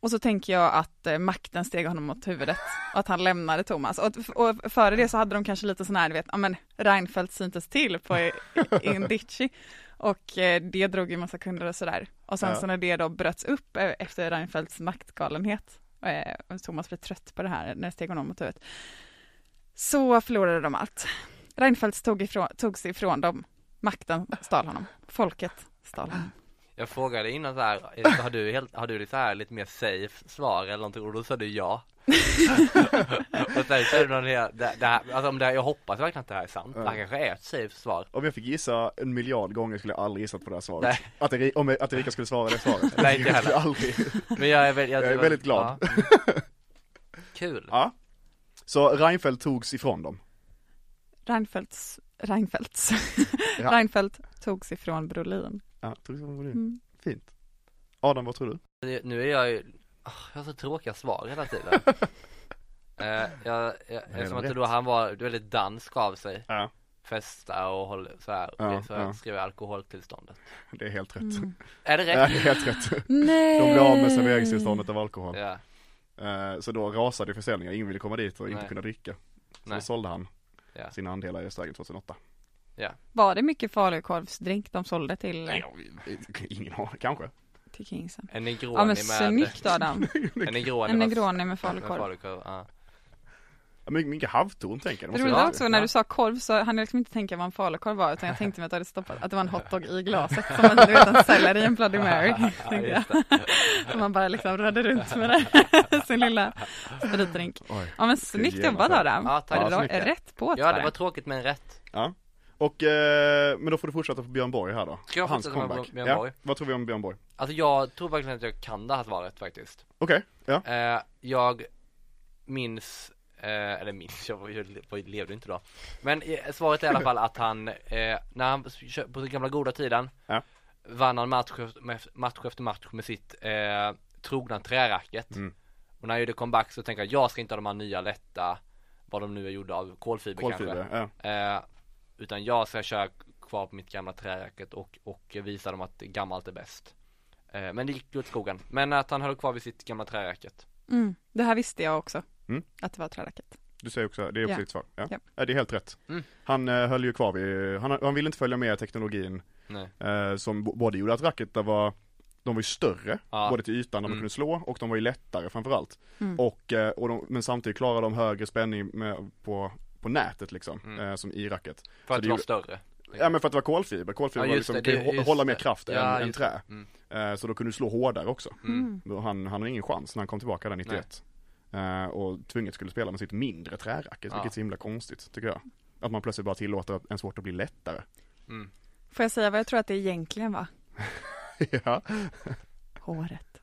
och så tänker jag att eh, makten steg honom åt huvudet och att han lämnade Thomas. Och, och före det så hade de kanske lite sån här, du vet, ja men Reinfeldt syntes till på i- i- Indici. Och eh, det drog ju massa kunder och sådär. Och sen
Ja.
så när det då bröts upp eh, efter Reinfeldts maktgalenhet, eh, och Thomas blev trött på det här när det steg honom åt huvudet, så förlorade de allt. Reinfeldt tog, ifrån, togs ifrån dem, makten stal honom, folket stal honom.
Jag frågade innan så här, eh, har du, helt, har du lite så här lite mer safe svar eller någonting och då sa du ja Och sen sa du någon det, det, det här, alltså om det här, jag hoppas verkligen att det här är sant, det här kanske är ett safe svar
Om jag fick gissa en miljard gånger skulle jag aldrig gissat på det här svaret.
Nej.
Att, Eri- om, att Erika skulle svara det svaret.
Nej, inte heller.
Jag skulle aldrig.
Men jag är, väl, jag,
Jag är väldigt glad.
ja. Kul!
Ja. Så Reinfeldt togs ifrån dem.
Reinfeldts, Reinfeldts,
Ja. Mm.
Reinfeldt togs ifrån Brolin.
Ja, togs ifrån Brolin.
Mm.
Fint. Adam, vad tror du?
Det- Nu är jag ju, ah, jag har så tråkiga svar hela tiden eh, jag, jag, Eftersom att
rätt.
då han var väldigt dansk av sig
Ja.
Festa och håll, så här,
Ja,
så
ja.
skrev jag alkoholtillståndet
Det är helt rätt.
Mm.
Är det
Ja,
rätt?
det är helt rätt.
Nej!
De blev av med serveringstillståndet av alkohol.
Ja,
Eh, Så då rasade försäljningen, ingen ville komma dit och inte
Nej.
kunna dricka. Så
Nej.
då sålde han
Ja.
sina andelar i restaurangen 2008.
Var det mycket falukorvsdrink de sålde till,
Nej, jag- ingen aning, kanske.
till Kingsen?
en negroni
Ja men
med
snyggt Adam,
En negroni
en
med-
negroni med
med
falukorv.
falukorv, ja.
Ja, men mycket havtorn tänker jag.
Det
Det måste
roliga
jag-
också när
ja.
du sa korv så hann jag liksom inte tänka vad en falukorv var utan jag tänkte mig att, jag hade stoppat, att det var en hotdog i glaset som en, du vet, en selleri i en Bloody Mary. tänkte jag. Och man bara liksom rörde runt med det, sin lilla spritdrink.
Oj.
Ja men snyggt
Det är
jobbat
jävla
Adam.
Ja, tack.
Är det
Ja,
bra?
snyggt.
Rätt på
ja det var tråkigt men rätt
Ja. Och, eh, men då får du fortsätta på Björn Borg här då.
Ska jag
Och Hans
fortsätta med
comeback.
Björn Borg?
Ja. Vad tror vi om Björn Borg?
Alltså jag tror verkligen att jag kan det här svaret faktiskt
Okej, ja.
eh, Jag minns, eh, eller minns, jag, var ju- jag levde inte då Men eh, svaret är i alla fall att han, eh, när han kö- på den gamla goda tiden
Ja.
Vann han match efter med- match, efter match med sitt eh, trogna träracket
Mm.
Och när jag gjorde comeback så tänkte jag, jag ska inte ha de här nya lätta Vad de nu är gjorda av, kolfiber, kanske
Kolfiber, ja.
Eh, utan jag ska köra kvar på mitt gamla träracket och, och visa dem att gammalt är bäst. Eh, men det gick ju åt skogen. Men att han höll kvar vid sitt gamla träracket.
Mm. Det här visste jag också.
Mm.
Att det var träracket.
Du säger också, det är också
Ja.
ditt svar. Ja.
Ja.
ja, det är helt rätt.
Mm.
Han eh, höll ju kvar vid, han, han ville inte följa med teknologin
Nej.
eh, som b- både gjorde att racketar var, de var ju större,
Ja.
både till ytan där man
Mm.
kunde slå och de var ju lättare framförallt.
Mm.
Och, eh, och de, men samtidigt klarade de högre spänning med, på, på nätet liksom,
Mm.
eh, som i racket. Så
För att
det
vara
gjorde-
större.
Ja men för att det var kolfiber, kolfiber
Ja,
var
just
liksom, kan
det,
ju
det-
hå-
just
hålla
det.
mer kraft
Ja,
än, än
just
trä.
det. Mm.
Eh, Så då kunde du slå hårdare också.
Mm.
Då Han, han hade ingen chans när han kom tillbaka där 91. eh, och tvunget skulle spela med sitt mindre träracket,
Ja.
vilket är så himla konstigt tycker jag. Att man plötsligt bara tillåter att en svårt att bli lättare.
Mm.
Får jag säga vad jag tror att det egentligen var?
ja.
Håret.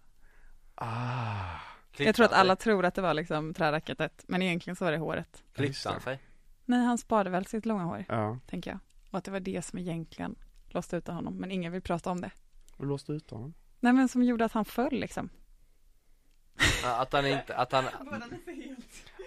Ah.
Klippte
Jag tror att
han sig?
alla tror att det var liksom träracketet, men egentligen så var det håret.
Klippte han sig?
Nej, han sparade väl sitt långa hår,
Ja,
tänker jag. Och att det var det som egentligen låste ut honom, men ingen vill prata om det.
och låste ut honom.
Nej, men som gjorde att han föll liksom.
Ja, Att han inte, att han,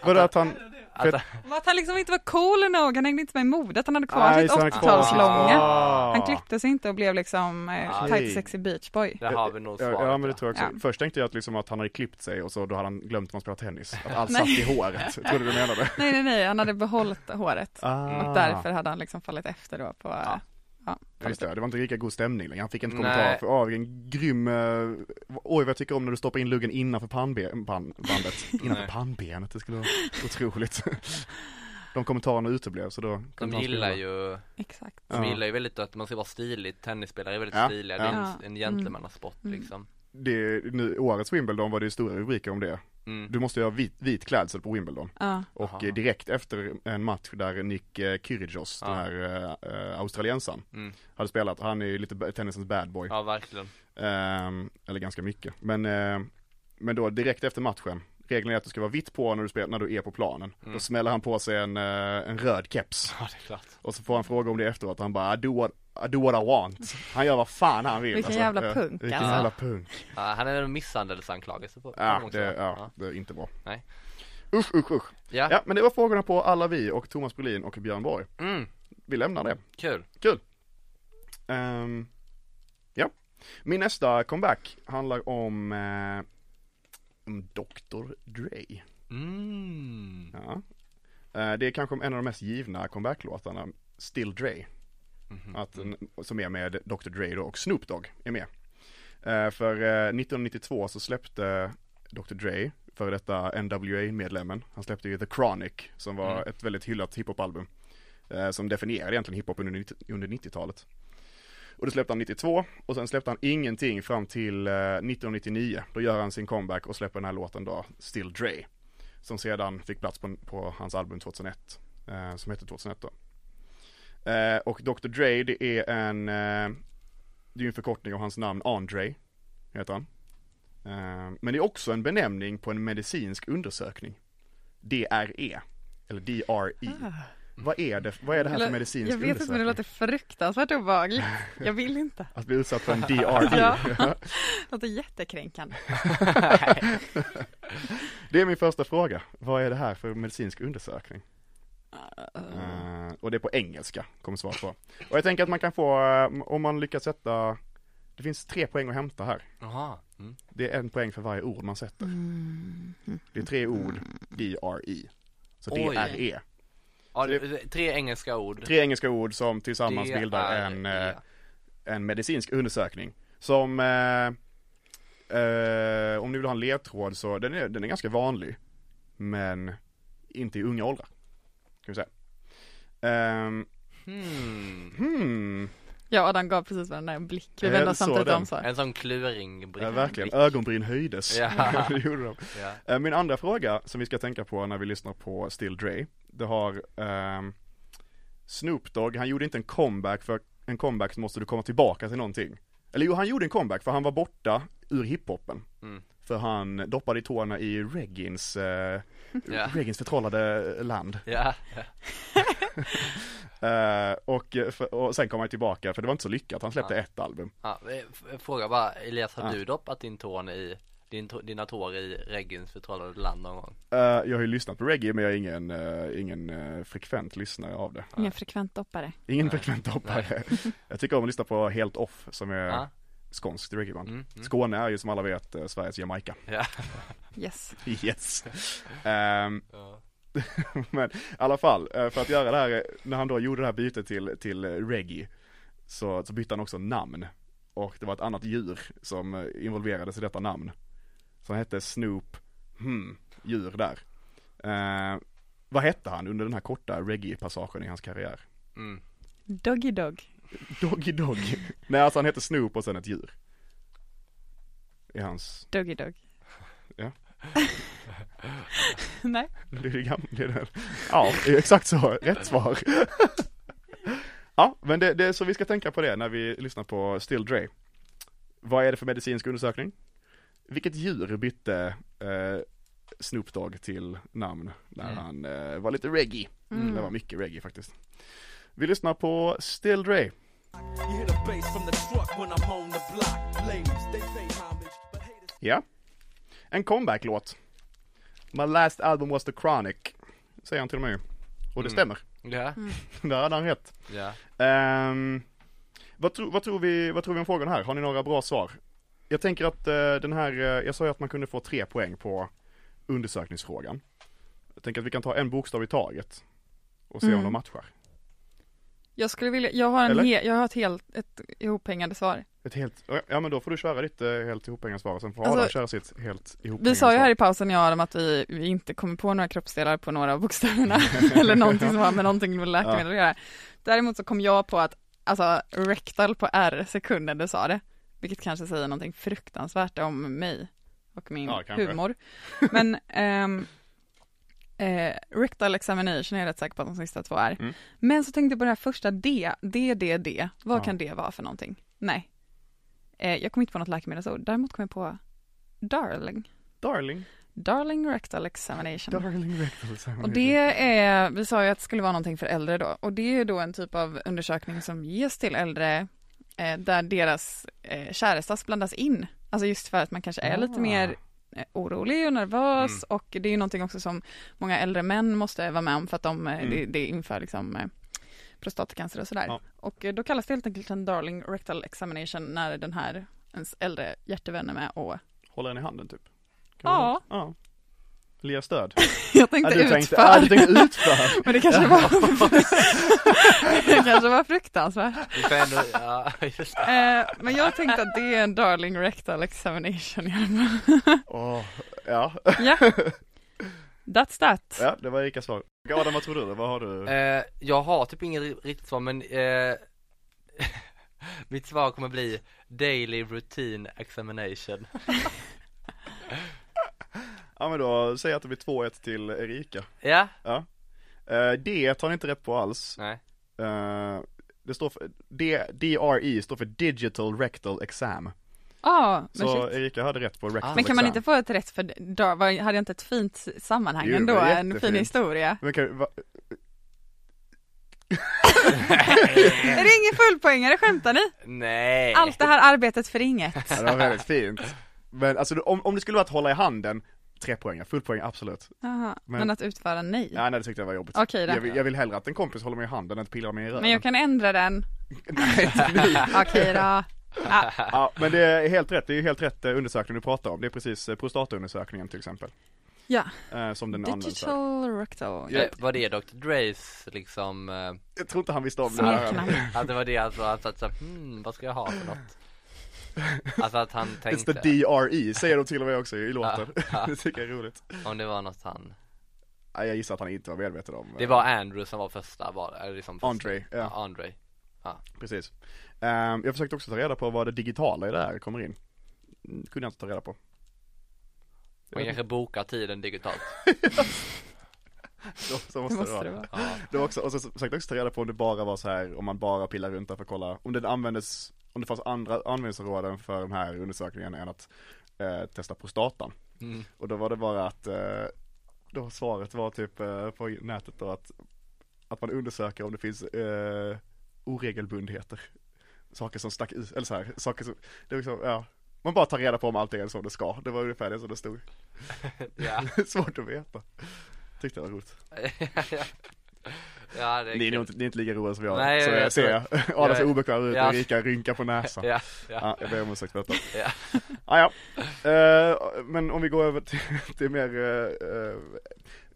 Vadå att han,
att han
Och Att han liksom inte var cool nog, han hängde inte med i modet, han hade kvar
Nej,
sitt
så han har kvar sitt-
80-talslånga.
Ah.
Han klippte sig inte och blev liksom eh,
Okej.
tight sexy beach boy.
där har vi nog svaret
Ja, ja men det tror jag också.
Ja.
Först tänkte jag att, liksom att han hade klippt sig och så då hade han glömt att man spelar tennis. Att allt
Nej.
satt i håret. Jag trodde du
Mm.
menade.
Nej, nej, nej, han hade behållit håret.
Ah.
Och därför hade han liksom fallit efter då på, eh,
Ja.
ja,
Ja, Just det, det var inte lika god stämning längre. Han fick inte
Nej.
kommentar för, åh vilken grym, eh, oj vad jag tycker om när du stoppar in luggen innanför pannbe- pan- bandet. Innanför
Nej.
pannbenet, det skulle vara otroligt. De kommentarerna uteblev så då kunde
De
han
gillar
spela.
ju,
exakt.
de
Ja.
gillar ju väldigt att man ska vara stilig, tennisspelare är väldigt
Ja,
stiliga,
ja.
det är
Ja. Mm.
en, en gentlemannasport liksom
det, nu, Årets Wimbledon var det ju stora rubriker om det.
mm.
Du måste ju ha vit, vit klädsel på Wimbledon.
Ja,
Och
Aha.
eh, direkt efter en match där Nick eh, Kyrgios,
Ja.
den här eh, eh, australiensaren,
Mm.
hade spelat, han är ju lite b- tennisens bad boy,
Ja verkligen,
Ehm, eller ganska mycket, men, eh, men då direkt efter matchen, regeln är att du ska vara vitt på när du, spelar, när du är på planen, då smäller han på sig en, eh, en röd keps
Mm. ja det är klart
och så får han fråga om det efteråt, han bara I do what, I do what I want, han gör vad fan han vill
Vilken jävla
Eh,
punk,
Vilken
alltså.
jävla punk
ja, Han är en misshandelsanklagelse på
Ja,
på många
det,
sätt.
ja, det är inte bra
Nej.
Usch, usch, usch
Ja,
Ja, men det var frågorna på alla vi och Thomas Brolin och Björn Borg
Mm,
Vi lämnar det
kul
Ehm, ja. Min nästa comeback handlar om, eh, om Dr. Dre.
mm.
Ja. Eh, det är kanske en av de mest givna comebacklåtarna, Still Dre. Att, en- som är med Dr. Dre då och Snoop Dogg är med. Eh, för eh, 1992 så släppte Dr. Dre, före detta NWA-medlemmen, han släppte ju The Chronic som var ett väldigt hyllat hiphop-album. Eh, som definierade egentligen hiphop under, 90 under 90-talet. Och det släppte han 92 och sen släppte han ingenting fram till eh, 1999. Då gör han sin comeback och släpper den här låten då, Still Dre. Som sedan fick plats på, på hans album 2001, eh, som hette 2001 då. Eh, och Dr. Dre, det är en, eh, det är ju en förkortning av hans namn, Andre, heter han. Eh, men det är också en benämning på en medicinsk undersökning. DRE, eller DRE. Vad är det, vad är det här för
Ah. Eller,
medicinsk
jag vet inte, men det
undersökning?
låter fruktansvärt obehagligt. Jag vill inte.
Att bli utsatt för en E. DRE.
Ja. Det låter jättekränkande.
Det är min första fråga. Vad är det här för medicinsk undersökning?
Uh,
Eh, och det är på engelska, kommer svaret vara. Och jag tänker att man kan få, eh, om man lyckas sätta, det finns tre poäng att hämta här.
Jaha, mm.
Det är en poäng för varje ord man sätter. Det är tre ord, D-R-E. Så
Oj.
D-R-E.
ja, det- tre engelska ord
E. Tre engelska ord som tillsammans
Det
bildar
är- E.
en,
ja.
eh, en medicinsk undersökning. Som, eh, eh, om ni vill ha en ledtråd så, den är, den är ganska vanlig. Men inte i unga åldrar. Kan vi säga. Ehm,
Hmm.
hmm,
Ja, Adam gav precis varandra en blick. Vi
Eh,
vände oss
så
samtidigt
den.
om så.
En sån kluring
ja, verkligen. Ögonbryn höjdes.
Ja.
det gjorde de.
Ja.
Eh, Min andra fråga som vi ska tänka på när vi lyssnar på Still Dre, det har ehm, Snoop Dogg, han gjorde inte en comeback för en comeback så måste du komma tillbaka till någonting. Eller jo, han gjorde en comeback för han var borta ur hiphopen.
Mm.
För han doppade i tårna i reggins, eh,
Ja.
reggins förtrollade land.
Ja,
Eh, och, eh, för, och sen kom han tillbaka för det var inte så lyckat, han släppte
Ja.
ett album.
ja. eh, f- Fråga bara, Elias har
Ja.
du doppat din tån i, din, tå- dina tår i reggens förtrollade land någon gång?
Eh, jag har ju lyssnat på reggae men jag är ingen, eh, ingen eh, frekvent lyssnare av det.
Ingen frekvent doppare.
Ingen frekvent hoppare. Jag tycker om att lyssna på Helt Off som är
Ja.
skånskt reggaeband.
Mm,
Skåne är ju som alla vet eh, Sveriges Jamaica.
Ja,
Yes.
Yes. Ehm,
ja.
men i alla fall, eh, för att göra det här, eh, när han då gjorde det här bytet till, till eh, reggae så, så bytte han också namn. Och det var ett annat djur som eh, involverades i detta namn. Så han hette Snoop, hmm, djur där. Ehm, vad hette han under den här korta reggae-passagen i hans karriär?
Mm.
Doggy dog.
Doggy Dog. Nej, alltså han heter Snoop och sen ett djur. I hans,
Doggy dog. Nej.
Lydegam, lydegam. Ja, det är exakt så. Rätt svar. Ja, men det, det är så vi ska tänka på det när vi lyssnar på Still Dre. Vad är det för medicinsk undersökning? Vilket djur bytte eh, Snoop Dogg till namn när
Mm.
han eh, var lite reggae?
Mm.
Det var mycket reggae faktiskt. Vi lyssnar på Still Dre.
You hear the bass from the truck when I'm on the block. Ladies, they pay homage, but haters.
Ja. En comeback-låt. My last album was the chronic. Säger han till och med. Och det
Mm.
stämmer.
Ja,
Där hade han rätt.
ja.
Ehm, vad, tro, vad, tror vi, vad tror vi om frågan här? Har ni några bra svar? Jag tänker att eh, den här, eh, jag sa ju att man kunde få tre poäng på undersökningsfrågan. Jag tänker att vi kan ta en bokstav i taget och se om
Mm.
de matchar.
Jag skulle vilja, jag har, en
Eller?
hel, jag har ett helt, ett ihophängande svar.
Ett helt, ja men då får du köra ditt eh, helt ihophängande svar och sen får
Alltså,
Adam köra sitt helt ihophängande
Vi sa ju
svar.
här i pausen, jag och Adam, att vi, vi inte kommer på några kroppsdelar på några av bokstäverna. Eller någonting som har med någonting med läkemedel att göra. Däremot så kom jag på att, alltså rectal på R sekunden du sa det. Vilket kanske säger någonting fruktansvärt om mig och min
Ja, kanske.
humor. Men ehm, eh, rectal examination är jag rätt säker på att de sista två är.
Mm.
Men så tänkte jag på det här första D, D, D, D. Vad
Ja.
kan det vara för någonting? Nej. Eh, jag kom inte på något läkemedelsord, däremot kom jag på darling.
Darling,
Darling rectal examination.
darling rectal examination.
Och det är, vi sa ju att det skulle vara någonting för äldre då, och det är ju då en typ av undersökning som ges till äldre eh, där deras eh, kärestas blandas in. Alltså just för att man kanske är lite
Ah.
mer eh, orolig och nervös
Mm.
och det är ju någonting också som många äldre män måste vara med om för att de, eh,
Mm.
det, det inför liksom eh, prostatacancer och sådär.
Ja.
Och eh, då kallas det helt enkelt en darling rectal examination när den här ens äldre hjärtevän är med och
Håller den i handen typ?
Ja.
man det? Ja. Eller ge stöd?
jag
Ja,
tänkte
du tänkte,
utför.
ja, du tänkte utför!
Men det kanske var, det kanske var fruktansvärt.
Vi får ändå, ja, just det.
Eh, men jag tänkte att det är en darling rectal examination i alla fall.
Åh, ja.
Ja. That's that.
ja, det var Erikas svar. Adam, vad tror du? Vad har du?
Eh, jag har typ inget ri- riktigt svar men eh, mitt svar kommer bli Daily Routine Examination.
Ja men då säger jag att det blir 2-1 till Erika.
Ja,
Eh, D tar ni inte rätt på alls.
nej,
Eh, det står för, D, DRE står för Digital Rectal Exam.
Ja, men
Så
shit.
Erika hade rätt på Rectal
Ah.
Men kan man
exam.
inte få ett rätt för dar, var, hade jag inte ett fint sammanhang
Jo,
ändå?
det var
En fin
jättefint.
historia.
Men kan, va,
Är det ingen fullpoängare, skämtar ni?
nej.
Allt det här arbetet för inget.
ja, det var väldigt fint. Men alltså du- om, om det skulle vara att hålla i handen, tre poäng, full poäng absolut.
Jaha,
Men-
men att utföra nej.
Nej, nej det tyckte jag var jobbigt.
Okej då.
jag, vill, jag vill hellre att en kompis håller mig i handen än att pillar mig i röven.
Men jag kan ändra den. Okej då.
Ja, men det är helt rätt, det är ju helt rätt eh, undersökning du pratar om. Det är precis eh, prostataundersökningen till exempel.
Ja,
eh, Som den används för.
digital rectal.
Eh, Var det Dr. Dre's liksom, eh,
Jag tror inte han visste om det här.
Smeknamn.
att det var det alltså, alltså att så, här, hmm, vad ska jag ha för något? Alltså att han
It's the
tänkte,
DRE, säger de till och med också i låten. det tycker jag är roligt.
om det var något han
Nej, jag gissar att han inte var medveten om.
Det
eh,
var Andrew som var första, var eller liksom första.
Andre, ja.
ja. Andre.
Precis. Ehm, jag försökte också ta reda på vad det digitala i det här kommer in. Mm, Kunde jag inte ta reda på.
Man kanske bokar tiden digitalt.
Så, så
Det
måste det
måste
vara.
det vara.
Ja.
Det var också, och så försökte jag också ta reda på om det bara var så här, om man bara pillar runt där för att kolla, om den användes, om det fanns andra användningsområden för den här undersökningen än att eh, testa prostatan.
Mm.
Och då var det bara att, eh, då svaret var typ eh, på nätet då att, att man undersöker om det finns eh, oregelbundheter. Saker som stack ut, eller så här, saker som, det var liksom, ja. Man bara tar reda på om allt är som det ska, det var ungefär det som det stod.
Ja.
Svårt att veta. Tyckte det var roligt.
ja, det är
Ni är, nog
kul.
inte, ni är inte lika roliga som jag,
Nej,
så
jag
jag,
vet,
ser
jag
jag. Adam ser
jag-
obekväm ut,
Ja.
Erika rynkar på näsan. Ja.
Ja, ja.
jag ber om ursäkt för detta.
Ja.
Ah, ja. Eh, men om vi går över till, till mer eh, eh,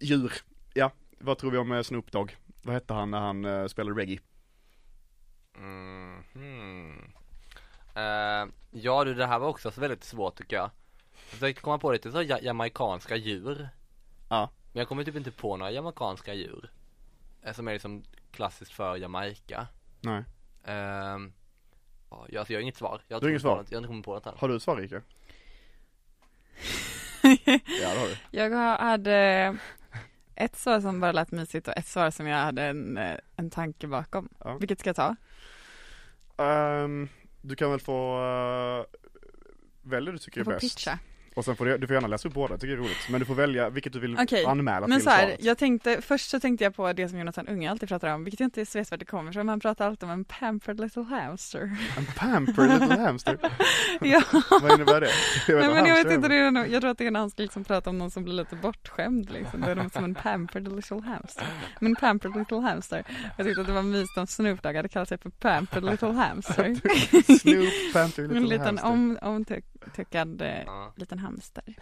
djur. Ja, vad tror vi om eh, Snoop Dogg? Vad hette han när han eh, spelade reggae?
Mhm. Eh, ja du, det här var också så väldigt svårt tycker jag. Jag försökte komma på lite så ja- jamaicanska djur.
Ja.
Men jag kommer typ inte på några jamaicanska djur. eh, Som är liksom klassiskt för Jamaica.
Nej.
Ehm, ja, jag, alltså, jag har inget svar. Jag
Du har
tror
inget
inte på
svar?
något- Jag har inte kommit på något här.
Har du ett svar Erika? Ja, det har du.
Jag har- hade ett svar som bara lät mysigt och ett svar som jag hade en, eh, en tanke bakom.
Ja.
Vilket ska jag ta?
Ehm, du kan väl få uh, välja det du tycker
Jag
är
får
bäst.
pitcha.
Och sen får du, du får gärna läsa upp båda, tycker jag är roligt. Men du får välja vilket du vill
Okej,
anmäla
Men
till
så här,
svaret.
jag tänkte, först så tänkte jag på det som Jonathan Unge alltid pratar om, vilket jag inte vet var det kommer ifrån, men han pratar alltid om en pampered little hamster.
En pamper little hamster.
ja,
Vad innebär det? Jag
nej,
vad
men
hamster
jag vet
är.
inte, det är nog, jag tror att det är när han ska liksom prata om någon som blir lite bortskämd liksom, då är de som en pampered little hamster. Men pampered little hamster, jag tyckte att det var mysigt om Snoop Dogg hade kallat sig för pampered little hamster.
Snoop, pamper little
en liten
hamster.
om, omtuckad eh,
Ja.
liten hamster.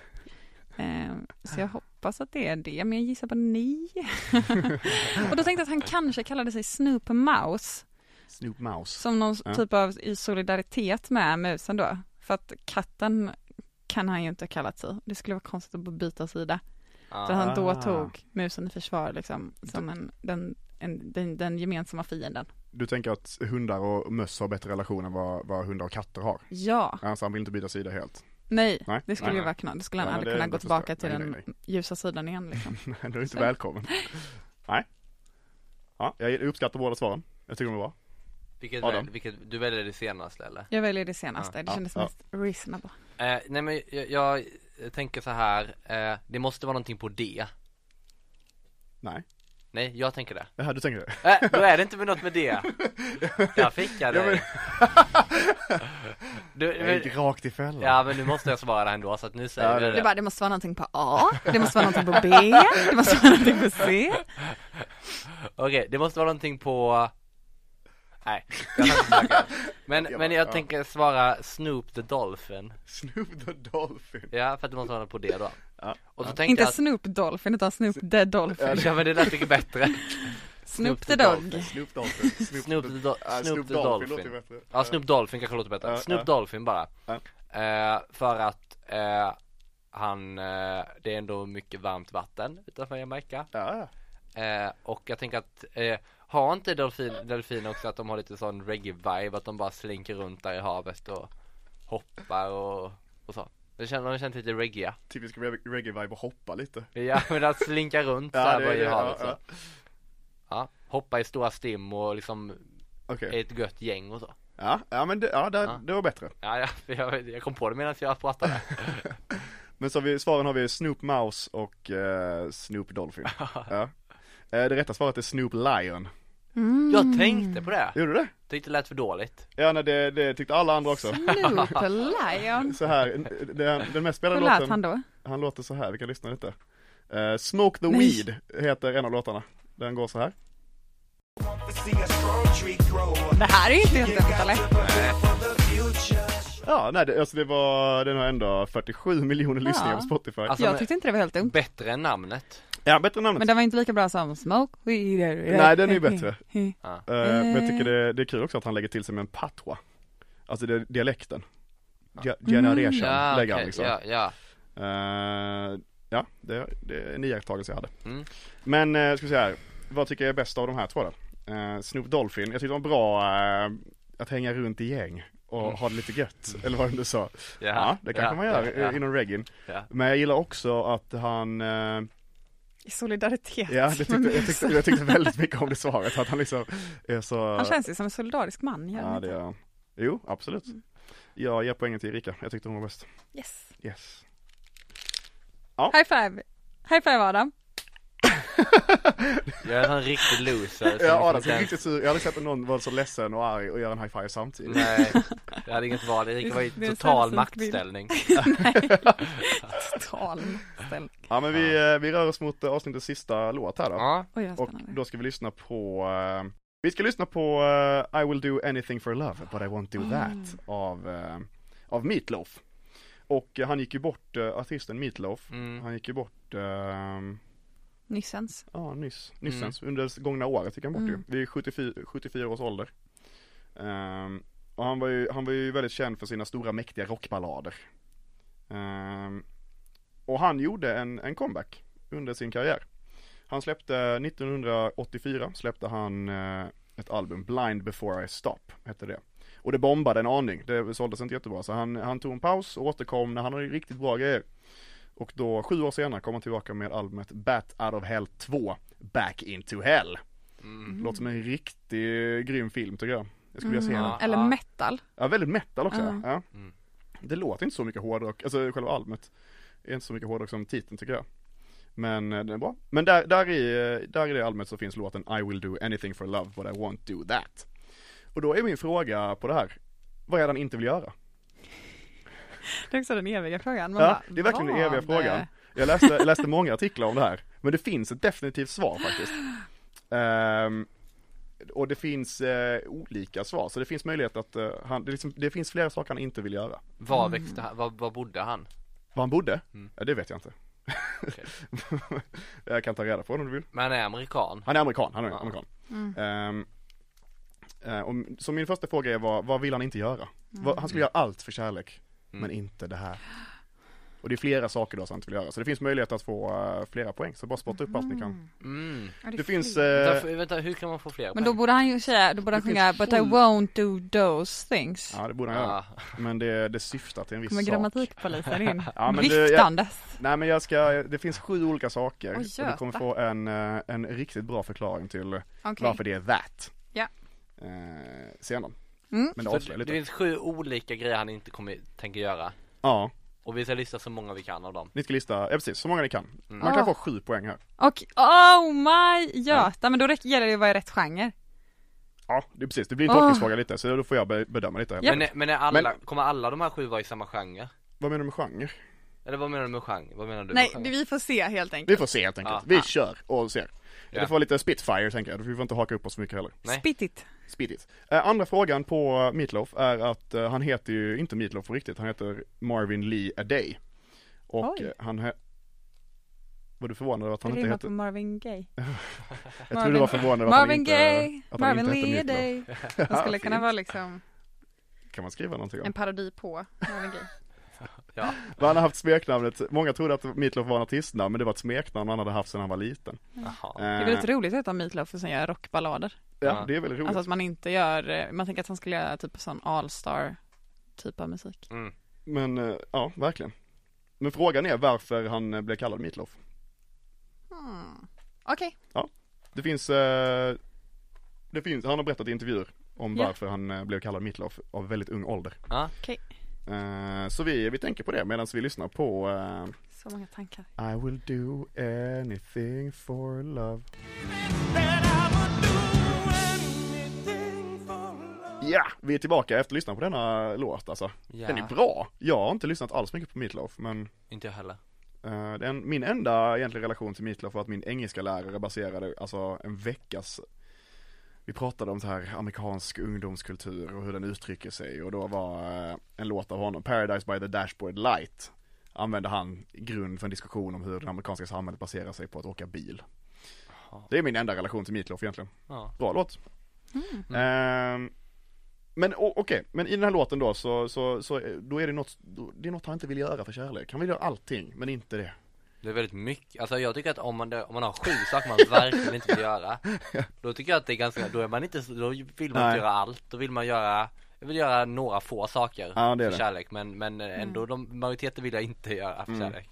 Eh, så
Ah.
jag hoppas att det är det, men jag gissar på nej. och då tänkte jag att han kanske kallade sig Snoop Mouse,
Snoop Mouse.
som någon
Ja.
typ av i solidaritet med musen då. För att katten kan han ju inte ha kallat sig. Det skulle vara konstigt att byta sida. Så
Ja.
han då
Ah.
tog musen i försvar liksom, som en, den, en, den, den gemensamma fienden.
Du tänker att hundar och möss har bättre relation än vad, vad hundar och katter har?
Ja,
Alltså han vill inte byta sida helt.
nej,
Nej,
det skulle
nej,
ju
nej.
vara knall. Det skulle han
Ja, men
aldrig
det-
kunna
det
gå
förstår jag.
tillbaka till
Nej,
den
nej,
ljusa sidan igen liksom.
Nej, du är inte välkommen. Nej. Ja, jag uppskattar båda svaren. Jag tycker de är bra.
Vilket,
Adam.
väl- vilket, du väljer det senaste eller?
Jag väljer det senaste, det
Ja,
kändes
ja.
mest reasonable.
Eh, nej men jag, jag tänker så här, eh, det måste vara någonting på D
Nej.
Nej, jag tänker det.
Jaha, du tänker det?
Äh, då är det inte med något med det. Där fick jag
Ja, men-
dig. Du,
Jag gick
men,
rakt i fällan.
ja men nu måste jag svara ändå så att nu säger
Ja,
du
det-
det.
Det bara, det måste vara någonting på A, det måste vara någonting på B, det måste vara någonting på C.
Okej, det måste vara någonting på Nej, jag kan inte försöka. Men,
Ja,
men jag
ja.
tänker svara Snoop the Dolphin
Snoop the Dolphin.
Ja, för att det måste vara något på det då
Ja.
Och så tänker
Inte
jag att,
Snoop Dolphin utan Snoop the Dolphin.
ja men det lät mycket bättre
Snoop the Dog.
Dolphin. Snoop Dolphin. Snoop,
Snoop the, Do-
Ja,
Snoop the Dolphin
låter bättre.
Ja, Snoop Dolphin kanske låter bättre.
Ja,
Snoop
ja.
Dolphin bara.
Ja.
Eh, för att eh, han, eh, det är ändå mycket varmt vatten utanför Jamaica.
Ja, ja.
Eh, och jag tänker att, eh, har inte delfin, delfiner också att de har lite sån reggae-vibe? Att de bara slinker runt där i havet och hoppar och, och så. De känner, de känns lite reggae.
Typisk reg- reggae-vibe och hoppa lite.
Ja, men att slinka runt så här bara i havet så.
ja.
Ja, hoppa i stora stim och liksom
Okej.
är ett gött gäng och så.
Ja, ja men det, ja, det,
Ja.
det var bättre.
Ja, ja, jag, jag kom på det medan jag pratade.
Men så har vi, svaren har vi Snoop Mouse och eh, Snoop Dolphin. ja. Eh, det rätta svaret är Snoop Lion.
Jag tänkte på det.
Gjorde du det?
Tyckte det lät för dåligt.
Ja, nej, det, det tyckte alla andra också.
Snoop Lion.
Så här, den, den mest spelade
Hur lät
låten,
han
han...
då?
låter så här, vi kan lyssna lite. Eh, Smoke the
Nej.
Weed heter en av låtarna. Den går så här.
Det här är ju inte helt dumt eller?
Ja, nej, det, alltså det var, den har ändå 47 miljoner lyssningar
Ja.
på Spotify.
Alltså,
Jag
men-
tyckte inte det var helt dumt.
Bättre än namnet.
ja, bättre namn.
Men den var inte lika bra som Smoke Weed.
Nej, den är ju bättre.
Ja.
Eh, Men jag tycker det, det är kul också att han lägger till sig med en patwa. Alltså det, dialekten. Ge- Generation lägger han
okej,
liksom.
Mm. ja, ja.
Eh, ja, det, det är en iakttagelse jag hade.
Mm.
Men eh, ska vi se här, vad tycker jag är bäst av de här två då? Eh, Snoop Dolphin, jag tyckte det var bra eh, att hänga runt i gäng och ha det lite gött, eller vad du sa.
Mm. Ja,
Ja, det kanske
ja,
man gör
ja,
eh,
ja.
inom reggae.
Ja.
Men jag gillar också att han, eh, ja,
I solidaritet
det tyckte,
med
jag, tyckte,
musen.
jag tyckte väldigt mycket om det svaret, att han liksom är så
Han känns ju som en solidarisk man. Gör han
Ja, det
inte?
gör han. Jo, absolut. Jag ger poängen till Erika, jag tyckte hon var bäst.
Yes.
Yes.
High five! High five Adam!
Jag är en sån riktig loser. som liksom
Ja, Adam
inte
såg
ens-
riktigt sur, jag hade sett att någon var så ledsen och arg och gör en high five samtidigt.
Nej, jag hade inget val. Erik var i
Det är en
total
sällsynt
maktställning.
Total maktställ.
Ja, men vi, eh, vi rör oss mot eh, avsnittets sista låt här då.
Ja,
Oj vad
Och
spännande.
då ska vi lyssna på, eh, vi ska lyssna på eh, I will do anything for love, but I won't do that av, eh, av Meatloaf. Och eh, han gick ju bort, eh, artisten Meatloaf,
Mm.
han gick ju bort ehm,
Nyssens.
Ja, nyss. Nyssens. Under det gångna året gick han bort
Mm.
ju. Vid 74, 74 års ålder. Ehm, och han var, ju, han var ju väldigt känd för sina stora mäktiga rockballader. Ehm, och han gjorde en, en comeback under sin karriär. Han släppte, 1984 släppte han eh, ett album, Blind before I stop, hette det. Och det bombade en aning, det såldes inte jättebra. Så han, han tog en paus och återkom när han hade riktigt bra grejer. Och då, sju år senare, kom han tillbaka med albumet Bat Out of Hell 2, Back Into Hell. Låter som en riktig grym film tycker jag. Jag skulle vilja se den.
Ja.
Mm. Eller
Ah.
metal.
Ja, väldigt metal också.
Ja.
Ja. Det låter inte så mycket hårdrock, alltså själva albumet är inte så mycket hårdrock som titeln tycker jag. Men eh, den är bra. Men där, där, i, eh, där i det albumet så finns låten I will do anything for love but I won't do that. Och då är min fråga på det här, vad är det han inte vill göra?
Det är också den eviga frågan. Man
Ja,
bara,
det är verkligen den
vad?
eviga frågan. Jag läste, jag läste många artiklar om det här, men det finns ett definitivt svar faktiskt. Ehm, och det finns eh, olika svar, så det finns möjlighet att eh, han, det, är liksom, det finns flera saker han inte vill göra.
Var
Mm.
växte han, var, var bodde han?
Var han bodde? Ja, det vet jag inte. jag kan ta reda på det om du vill.
Men han är amerikan.
Han är amerikan, han är amerikan. Ehm, eh, om- så min första fråga är vad, vad vill han inte göra? Vad, han skulle göra allt för kärlek, men inte det här. Och det är flera saker då som han inte vill göra, så det finns möjlighet att få eh, flera poäng, så bara spotta upp allt ni kan.
Mm.
Ja,
Det finns,
fler.
eh,
Därför, vänta, hur kan man få fler
Men då
poäng?
borde han ju säga, då borde han
Det finns
sjunga But I
full-
won't do those things.
ja det borde han göra,
Ja.
men det, det syftar till en viss
Kommer
sak.
grammatikpolisen in?
Ja, men du, jag-
Viftandes.
Nej men jag ska, det finns sju olika saker,
Oj,
och du kommer
göta.
få en, eh, en riktigt bra förklaring till
Okej.
varför det är that.
Ja.
Eh, senare.
Mm.
Men det
Så
avslöjar
det
lite.
finns sju olika grejer han inte kommer, tänker göra.
Ja,
Och vi ska lista så många vi kan av dem.
ni ska lista, ja precis, så många ni kan.
Mm.
Man kan
Ah.
få sju poäng här.
Och oh my göta, men då räcker- gäller det att vara i rätt genre.
Ja, det är precis, det blir en
Ah.
tolkningsfråga lite, så då får jag be- bedöma lite. här.
Ja.
Men, eh, är- men, är alla, kommer alla de här sju vara i samma genre?
Vad menar du med genre?
Eller vad menar du med genre? Vad menar du
Nej,
med
det-
genre?
vi får se helt
Vi
enkelt.
får se helt enkelt,
Ja.
vi kör och ser.
Ja.
Det får vara lite spitfire tänker jag, för vi får inte haka upp oss för mycket heller.
Nej.
Spit it.
Speedigt. Eh, andra frågan på Meatloaf är att eh, han heter ju inte Meatloaf på riktigt, han heter Marvin Lee Aday. Och
Oj.
eh, han he- Var du förvånad över att
Det
han inte
rimmar på
heter...
Marvin Gaye.
Jag tror du var förvånad över att han
Marvin
inte...
Gaye,
att han
Marvin
inte heter
Lee
Meatloaf.
Day. Det skulle kunna
Fint.
vara liksom
Kan man skriva någonting om?
en parodi på Marvin Gaye.
Ja.
Men han har haft smeknamnet, många trodde att Meatloaf var en artistnamn men det var ett smeknamn han hade haft sedan han var liten.
Jaha.
Eh,
Det är väldigt roligt att heta Meatloaf och sen göra rockballader.
ja, det är väldigt roligt.
Alltså att man inte gör, eh, man tänker att han skulle göra typ sån allstar typ av musik.
Men eh, ja, verkligen. Men frågan är varför han eh, blev kallad Meatloaf.
Okej.
Ja, det finns, eh, det finns, han har berättat i intervjuer om
Ja.
varför han eh, blev kallad Meatloaf av väldigt ung ålder.
Ja.
Okej.
Eh, så vi, vi tänker på det medan vi lyssnar på eh,
Så många tankar.
I will do anything for love. Ja, vi är tillbaka efter att lyssna på denna låt alltså.
Ja.
Den är bra. Jag har inte lyssnat alls mycket på Meatloaf men
Inte jag heller.
eh, den, min enda egentliga relation till Meatloaf var att min engelska lärare baserade alltså en veckas vi pratade om så här amerikansk ungdomskultur och hur den uttrycker sig och då var eh, en låt av honom, Paradise by the Dashboard Light använde han grund för en diskussion om hur det amerikanska samhället baserar sig på att åka bil. Det är min enda relation till Meatloaf egentligen.
Ja.
Bra låt. Ehm, men o- okej, men i den här låten då så, så, så eh, då är det något, då, det är något han inte vill göra för kärlek. Han vill göra allting, men inte det.
Det är väldigt mycket, alltså jag tycker att om man, om man har sju saker man verkligen inte vill göra Då tycker jag att det är ganska, då är man inte, så- då vill man
Nej.
inte göra allt, då vill man göra jag vill göra några få saker
Ja, det är
för
det.
kärlek men, men
Mm.
ändå de, majoriteten vill jag inte göra för kärlek Jag
Mm.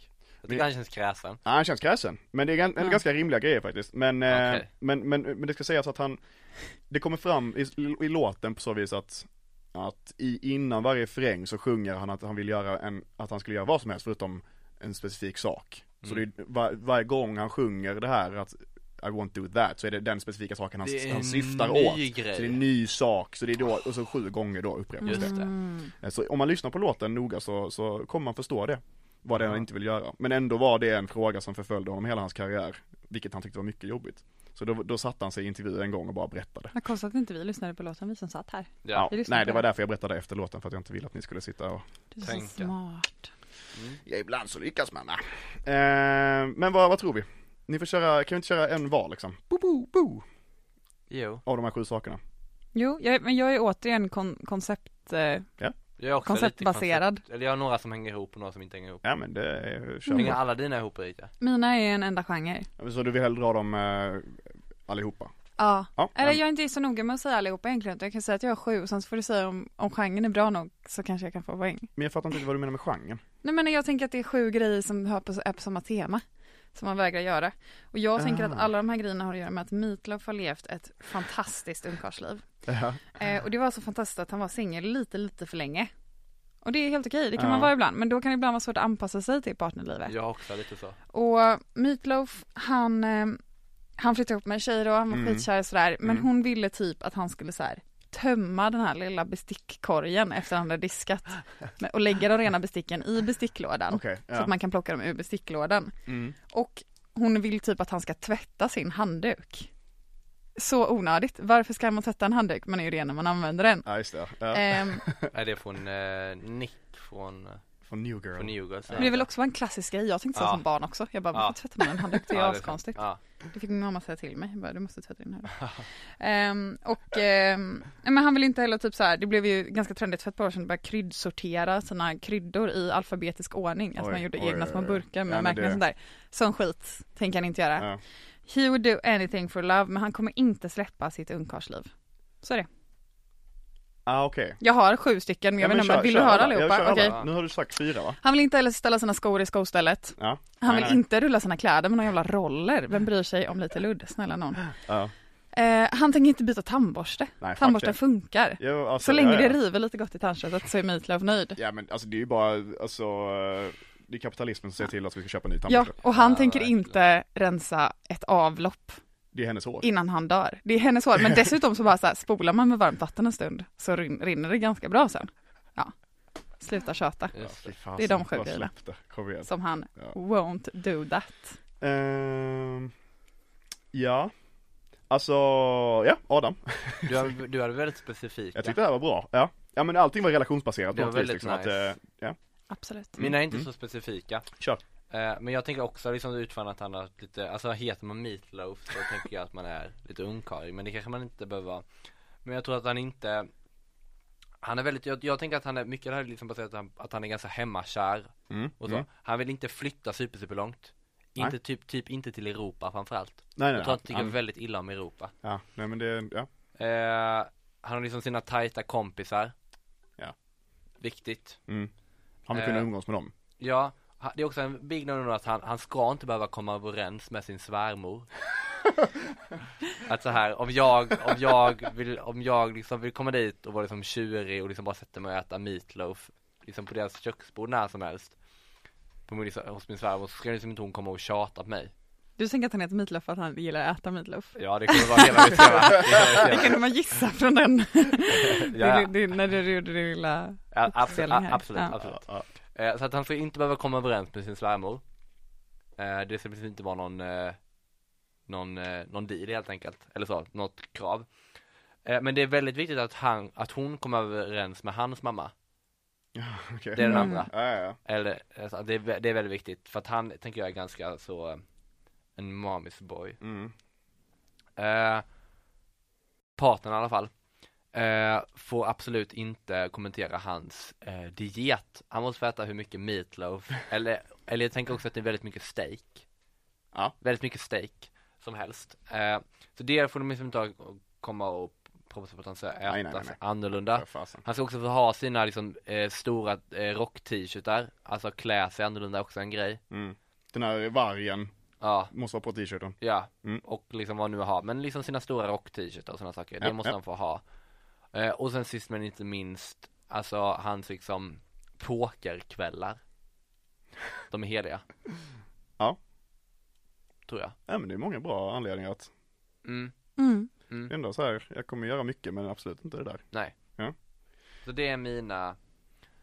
Vi-
tycker han känns kräsen
Ja, han känns kräsen. Men det är gan- en ganska rimliga grejer faktiskt. Men, eh,
Okej.
men, men, men det ska sägas att han, det kommer fram i, i låten på så vis att, att i, innan varje fräng så sjunger han att han vill göra en, att han skulle göra vad som helst förutom en specifik sak. Så
Mm.
det är, var, varje gång han sjunger det här att I won't do that så är det den specifika saken han,
Det är en
han syftar
ny
åt.
grej.
Så det är en ny sak, så det är då, och så sju gånger då upprepas
Just
det.
Mm.
det,
Eh, Så om man lyssnar på låten noga så, så kommer man förstå det. Vad det är han inte vill göra. Men ändå var det en fråga som förföljde honom hela hans karriär. Vilket han tyckte var mycket jobbigt. Så då, då satte han sig i intervjuer en gång och bara berättade.
Vad konstigt att inte vi lyssnade på låten, vi som satt här.
ja,
vi lyssnar
Nej,
på
det var
den.
därför jag berättade efter låten för att jag inte ville att ni skulle sitta och
Du är
Tänka.
så smart.
Mm.
Ja, ibland så lyckas man va. Eh, men vad, vad tror vi? Ni får köra, kan vi inte köra en var liksom? Bo, bo, bo.
jo,
Av de här sju sakerna.
Jo, jag, men jag är återigen kon, koncept, eh,
jag är också
Konceptbaserad.
lite koncept, eller jag har några som hänger ihop och några som inte hänger ihop
Ja men det är, kör
Hänger
mm.
alla dina ihop Erika?
mina är en enda genre.
Så du vill hellre dra dem eh, allihopa?
Ja,
Ja,
eller
men-
jag är inte så noga med att säga allihopa egentligen. Jag kan säga att jag har sju, sen så får du säga om, om genren är bra nog så kanske jag kan få poäng.
Men jag fattar inte vad du menar med genren.
Nej men jag tänker att det är sju grejer som hör på, är på samma tema. Som man vägrar göra. Och jag tänker att
Ah.
alla de här grejerna har att göra med att Meatloaf har levt ett fantastiskt ungkarlsliv.
Ja.
Eh, och det var så fantastiskt att han var singel lite, lite för länge. Och det är helt okej, det kan
Ja.
man vara ibland. Men då kan det ibland vara svårt att anpassa sig till partnerlivet.
Jag har också lite så.
Och Meatloaf, han, eh, han flyttade ihop med en tjej då, han var
Mm.
skitkär och sådär. Men
Mm.
hon ville typ att han skulle så här tömma den här lilla bestickkorgen efter han hade diskat. Men- Och lägga de rena besticken i besticklådan.
Okej,
Så
ja.
att man kan plocka dem ur besticklådan.
Mm.
Och hon vill typ att han ska tvätta sin handduk. Så onödigt. Varför ska man tvätta en handduk? Man är ju ren när man använder den.
ja, just det. Ja.
Ehm,
Nej det är från eh, Nick från,
Från New Girl.
från Newgirls
men det är väl också en klassisk grej. Jag tänkte så
Ja.
som barn också. Jag bara,
Ja.
varför tvättar man en handduk? Det är ju
Ja,
askonstigt.
Ja,
Det fick min mamma säga till mig, Jag bara, du måste tvätta din här. Ehm, och ehm, men han vill inte heller typ så här, det blev ju ganska trendigt för ett par år sedan att börja kryddsortera sina kryddor i alfabetisk ordning. Alltså
Oj,
man gjorde
oj,
egna
oj,
små
oj.
burkar med
Ja, men
märken och
det-
sånt där. Sån skit tänker han inte göra.
Ja.
He would do anything for love men han kommer inte släppa sitt ungkarlsliv. Så är det.
Ah, okej.
Jag har sju stycken men jag
Ja,
vet
men
inte, om-
kör-
vill du
kör
höra
alla. Ja, kör
allihopa?
alla.
Okej.
Nu har du sagt fyra va?
Han vill inte heller ställa sina skor i skostället.
Ja.
Han
Nej,
vill
nej.
inte rulla sina kläder med någon jävla roller. Vem bryr sig om lite ludd? Snälla någon.
Ja.
Eh, han tänker inte byta tandborste.
Nej, fuck
Tandborsten
det.
funkar.
Jo, alltså,
så länge
ja, ja.
det river lite gott i tandköttet så är Meatloaf nöjd.
Ja men alltså det är ju bara, alltså eh, det är kapitalismen som säger till att vi ska köpa en ny
Ja,
tandborste.
och han
Ja,
tänker
verkligen.
inte rensa ett avlopp
Det är hennes hår.
innan han dör. Det är hennes hår, men dessutom så bara så här, spolar man med varmt vatten en stund så rin- rinner det ganska bra sen. Ja, sluta tjata.
just
Fy fan,
Det är de
bara
sju grejerna.
släpp det. Kom igen.
Som han
Ja.
won't do that.
Ehm, ja. Alltså, ja, Adam.
det. Du, har- du är väldigt specifik.
Jag tyckte det här var bra. Ja. Ja men allting var relationsbaserat
Det
på
var
något vis,
väldigt
liksom,
nice.
att, eh, ja.
Absolut.
Mina är inte
Mm.
så specifika.
Kör.
Eh, men jag tänker också liksom utifrån att han har lite, alltså heter man Meatloaf så tänker jag att man är lite ungkarlig men det kanske man inte behöver vara. Men jag tror att han inte han är väldigt, jag, jag tänker att han är, mycket av det här är liksom baserat att han, att han är ganska hemmakär
Mm.
och så.
Mm.
Han vill inte flytta super, super långt.
Nej.
Inte typ, typ inte till Europa framförallt.
Nej nej
Jag tror
nej.
han tycker väldigt illa om Europa.
ja, nej men det, ja.
Eh, han har liksom sina tajta kompisar.
Ja.
Viktigt.
Mm. Han vill kunna
Eh.
umgås med dem.
Ja, ha- det är också en big no att han, han ska inte behöva komma överens med sin svärmor Att så här, om jag, om jag vill, om jag liksom vill komma dit och vara liksom tjurig och liksom bara sätta mig och äta meatloaf Liksom på deras köksbord när som helst på min, hos min svärmor så ska liksom inte hon komma och tjata på mig
Du tänker att han heter Meatloaf för att han gillar att äta Meatloaf?
Ja det kommer vara hela mitt tema Det kommer vara
Det
mitt
kunde man gissa från den,
tema. ja,
det, det, när du gjorde din lilla
ja, absolut,
uppspelning här.
absolut,
Ja.
absolut.
Ja,
Eh, Så att han ska inte behöva komma överens med sin svärmor eh, Det ska liksom inte vara någon eh, någon, eh, någon deal helt enkelt Eller så, något krav Eh, Men det är väldigt viktigt att han, att hon kommer överens med hans mamma
ja, okej.
Det är den
Mm.
Ja.
andra
Ja, ja, ja.
Eller, alltså, att det är, vä- det är väldigt viktigt För att han, tänker jag, är ganska så eh, En mamis boy
Mm.
eh, Partnern i alla fall eh, Får absolut inte kommentera hans eh, diet Han måste få äta hur mycket meatloaf Eller, eller jag tänker också att det är väldigt mycket steak
Ja.
Väldigt mycket steak Som helst eh, Så det får de liksom inte komma och propsa på att han ska äta
nej, nej.
sig annorlunda
Ja, fasen.
han ska också få ha sina liksom, eh, stora eh, rock-t-shirtar, alltså klä sig annorlunda också en grej.
Mm. Den här vargen
Ja,
måste vara på t-shirten.
ja.
Mm.
Och liksom vad han nu har, men liksom sina stora rock-t-shirtar och sådana saker, det
Ja,
måste
ja.
han få ha. Eh, och sen sist men inte minst, alltså hans liksom pokerkvällar. De är heliga.
Ja.
Tror jag.
Ja men det är många bra anledningar att
Mm.
Mm.
Det är ändå så här, jag kommer göra mycket men absolut inte det där.
Så det är mina,